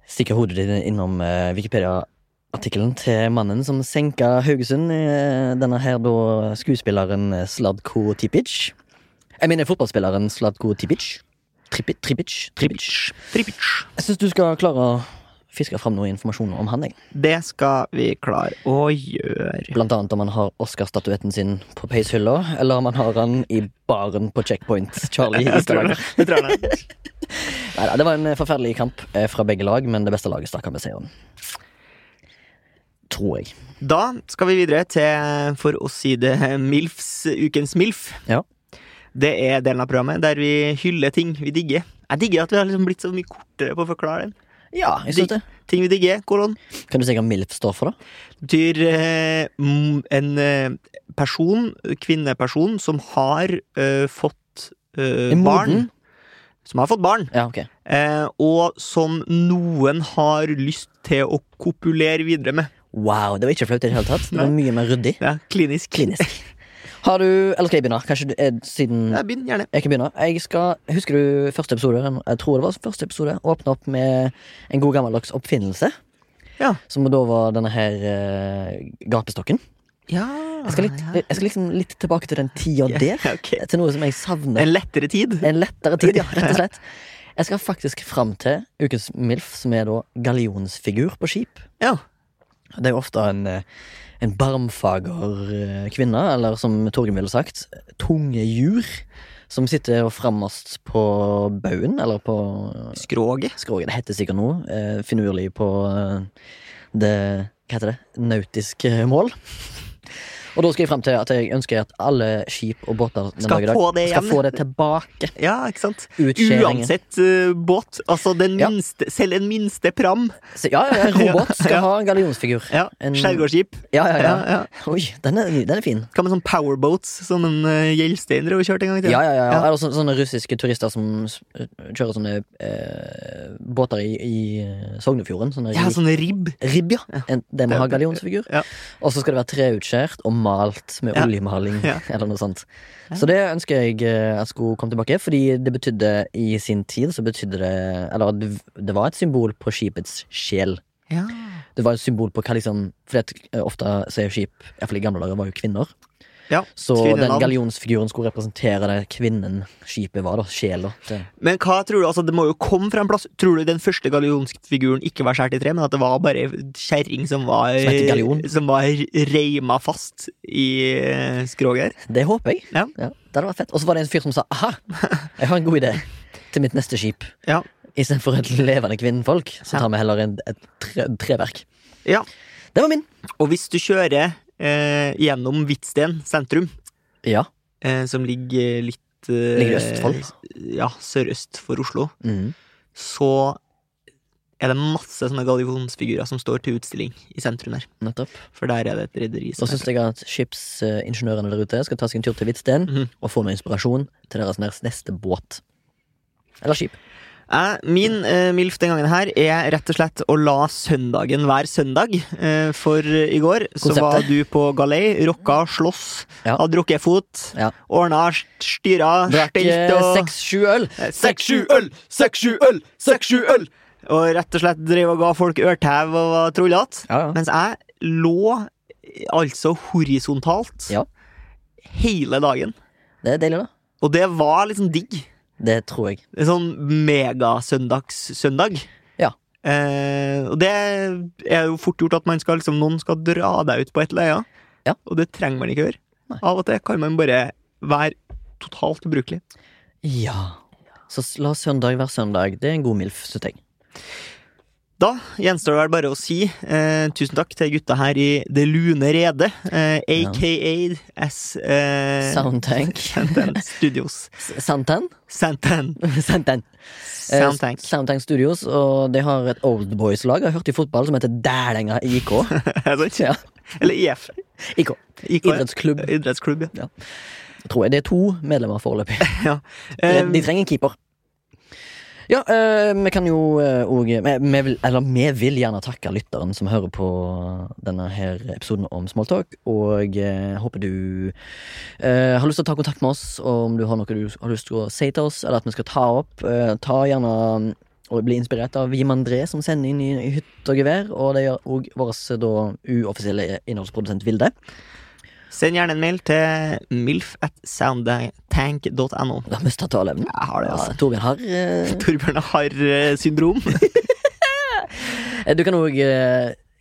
A: stikke hodet ditt innom eh, Wikipedia-artikkelen til mannen som senka Haugesund. eh, denne her da skuespilleren Sladko Tipic. Jeg mener fotballspilleren Sladko Tipic. Tripic, Tripic, Tripic.
B: Tripic.
A: Jeg syns du skal klare å fiske fram noe informasjon om han. Jeg.
B: Det skal vi klare å gjøre.
A: Blant annet om han har Oscar-statuetten sin på peishylla, eller om han har han i baren på Checkpoint (laughs) Charlie i
B: Jeg tror det.
A: Stavanger.
B: Jeg tror det.
A: Neida, det var en eh, forferdelig kamp eh, fra begge lag, men det beste laget stakk av med seieren. Tror jeg.
B: Da skal vi videre til, for å si det, MILFs, ukens MILF.
A: Ja.
B: Det er delen av programmet der vi hyller ting vi digger. Jeg digger at vi har liksom blitt så mye kortere på å forklare den.
A: Ja, jeg synes det.
B: Ting vi digger, kolon.
A: Kan du si hva MILF står for, da?
B: Betyr eh, m- en eh, person, kvinneperson, som har eh, fått eh,
A: Er moden.
B: barn. Som har fått barn,
A: Ja, ok.
B: eh, og som noen har lyst til å kopulere videre med.
A: Wow, det var ikke flaut i det hele tatt. Det var mye mer ryddig.
B: Ja, klinisk.
A: Klinisk. Har du Eller skal jeg begynne? Kanskje du er siden
B: (laughs) Ja, begynn gjerne.
A: Jeg kan begynne. Jeg skal, husker du første episode? Jeg tror det var første episode. Åpne opp med en god gammeldags oppfinnelse.
B: Ja.
A: Som da var denne her eh, gapestokken.
B: Ah, Ja,
A: Jeg skal, litt, jeg skal liksom litt tilbake til den tida
B: Ja,
A: der.
B: (laughs) ok.
A: Til noe som jeg savner.
B: En lettere tid.
A: En lettere tid, ja, rett og slett. Jeg skal faktisk fram til ukens MILF, som er da gallionsfigur på skip.
B: Ja.
A: Det er jo ofte en, eh, en barmfager eh, kvinne, eller som Torgrim ville sagt, tungejur, som sitter frammest på baugen, eller på eh,
B: Skroget.
A: skroget. Det heter sikkert noe eh, finurlig på eh, det Hva heter det? Nautiske mål. (laughs) Og da skal jeg fram til at jeg ønsker at alle skip og båter den dag
B: Skal
A: i dag
B: få det
A: skal
B: igjen.
A: få det tilbake.
B: Ja, ikke sant?
A: Utskjæringen.
B: Uansett eh, båt. Altså den
A: Ja.
B: minste, selv den minste pram.
A: Så, ja, ja, ja, robot skal
B: (laughs) Ja.
A: ha en gallionsfigur.
B: Ja.
A: En-
B: Skjærgårdsskip.
A: Ja, ja, ja.
B: Ja, ja.
A: Oi, den er, den er fin.
B: Hva med sånn powerboats som en uh, Gjelstein drev og kjørte en gang i tiden?
A: Ja, ja, ja, ja. Eller så, sånne russiske turister som s- kjører sånne eh, båter i, i eh, Sognefjorden. Sånne
B: Ja,
A: ri-
B: sånn ribb.
A: ribb, ja. En, det må
B: Det-
A: ha gallionsfigur.
B: ja.
A: Og så skal det være treutskjært og malt med
B: Ja.
A: oljemaling
B: Ja.
A: eller noe sånt. Så det ønsker jeg eh, at skulle komme tilbake, fordi det betydde i sin tid så betydde det Eller det, det var et symbol på skipets sjel.
B: Ja.
A: Det var et symbol på hva liksom Fordi at eh, ofte sier skip, iallfall i gamle dager, var jo kvinner.
B: ja.
A: Så den
B: Kvinnenavn.
A: gallionsfiguren skulle representere det kvinnen skipet var, da. Sjela. til-
B: Men hva tror du, altså det må jo komme fra en plass. Tror du den første gallionsfiguren ikke var skåret i tre, men at det var bare kjerring som var
A: Som heter gallion.
B: Som var reima fast i eh, skroget her?
A: Det håper jeg.
B: Ja.
A: det hadde vært fett. Og så var det en fyr som sa aha, jeg har en god idé til mitt neste skip.
B: Ja.
A: Istedenfor et levende kvinnfolk, så
B: Ja.
A: tar vi heller en, et tre, treverk.
B: ja.
A: Det var min.
B: Og hvis du kjører eh, gjennom Hvitsten sentrum,
A: Ja.
B: eh, som ligger litt eh,
A: Ligger i Østfold.
B: Ja, sørøst for Oslo.
A: Mm.
B: Så er det masse sånne gallionsfigurer som står til utstilling i sentrum her.
A: Nettopp.
B: For der er det et rederi
A: Da
B: som
A: syns
B: er
A: jeg at skipsingeniørene der ute skal ta seg en tur til Hvitsten
B: Mhm.
A: og få noe inspirasjon til deres nes- neste båt. Eller skip.
B: Eh, Min eh, MILF den gangen her er rett og slett å la søndagen være søndag. Eh, for eh, i går så
A: Konseptet.
B: var du på galei, rocka, slåss,
A: Ja.
B: hadde drukket fot,
A: Ja.
B: ordna, styra,
A: Drakk
B: stelt Ah, og
A: seks-sju øl.
B: Eh,
C: eh, Seks, sju øl! Seks, sju øl! Seks, sju øl!
B: Og rett og slett drev og ga folk ørtau og var trollete.
A: Ja, ja.
B: Mens jeg lå eh, altså horisontalt
A: Ja.
B: hele dagen.
A: Det er deilig, da.
B: Og det var liksom digg.
A: Det tror jeg.
B: En sånn megasøndagssøndag.
A: Ja.
B: Eh, og det er jo fort gjort at man skal, liksom, noen skal dra deg ut på et eller annet.
A: Ja.
B: Og det trenger man ikke gjøre.
A: Nei.
B: Av og til kan man bare være totalt ubrukelig.
A: Ja. Så s- la søndag være søndag. Det er en god MILF, syns jeg.
B: Da gjenstår det vel bare å si eh, tusen takk til gutta her i Det lune rede, eh,
A: Ja.
B: aka S... Eh,
A: Soundtank. (laughs)
B: Santan Studios.
A: Santan?
B: Santan.
A: Santan. Eh,
B: Soundtank.
A: Soundtank Studios, og de har et Old Boys-lag jeg har hørt i fotball som heter Dælenga IK.
B: (laughs) Er det sant?
A: Ja.
B: Eller IF.
A: IK.
B: IK, ja.
A: Idrettsklubb,
B: Idrettsklubb, ja.
A: tror jeg. Det er to medlemmer foreløpig.
B: Eh,
A: De trenger en keeper. Ja, eh, vi kan jo eh, og vi, vi vil, Eller vi vil gjerne takke lytteren som hører på denne her episoden om Smalltalk, og eh, håper du eh, har lyst til å ta kontakt med oss om du har noe du har lyst til å si til oss, eller at vi skal ta opp. Eh, ta gjerne mm, og bli inspirert av Jim André, som sender inn i, i hytt og gevær, og det gjør òg vår eh, da uoffisielle innholdsprodusent Vilde.
B: Send gjerne en mail til milf at soundtank.no.
A: Du har mista taleevnen.
B: Jeg har det,
A: Ja,
B: altså.
A: Torbjørn har eh,
B: Torbjørn har
A: (laughs)
B: eh, syndrom.
A: Eh, Du kan òg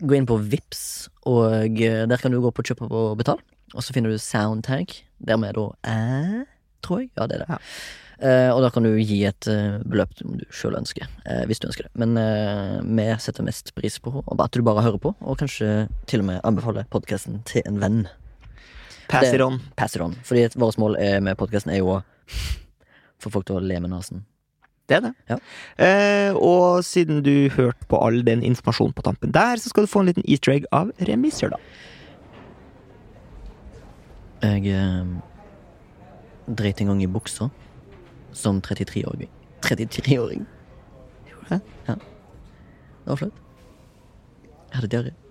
A: gå inn på Vips og eh, der kan du gå på kjøp og betal. Og så finner du Soundtag. Der vi da er, tror jeg. Ja, det er det.
B: Ja.
A: Eh, og da kan du gi et eh, beløp som du sjøl ønsker. eh, hvis du ønsker det. Men eh, vi setter mest pris på at du bare hører på, og kanskje til og med anbefaler podkasten til en venn.
B: Pass
A: Det-
B: it on.
A: Pass it on. Fordi et- vårt mål er, med podkasten er jo å få folk til å le med nesen.
B: Det er det.
A: Ja.
B: Eh, og siden du hørte på all den informasjonen på tampen der, så skal du få en liten easter egg av remisser, da.
A: Jeg eh, dreit en gang i buksa som 33-åring. 33-åring. Gjorde du det? Ja. Det var flaut. Jeg hadde diaré.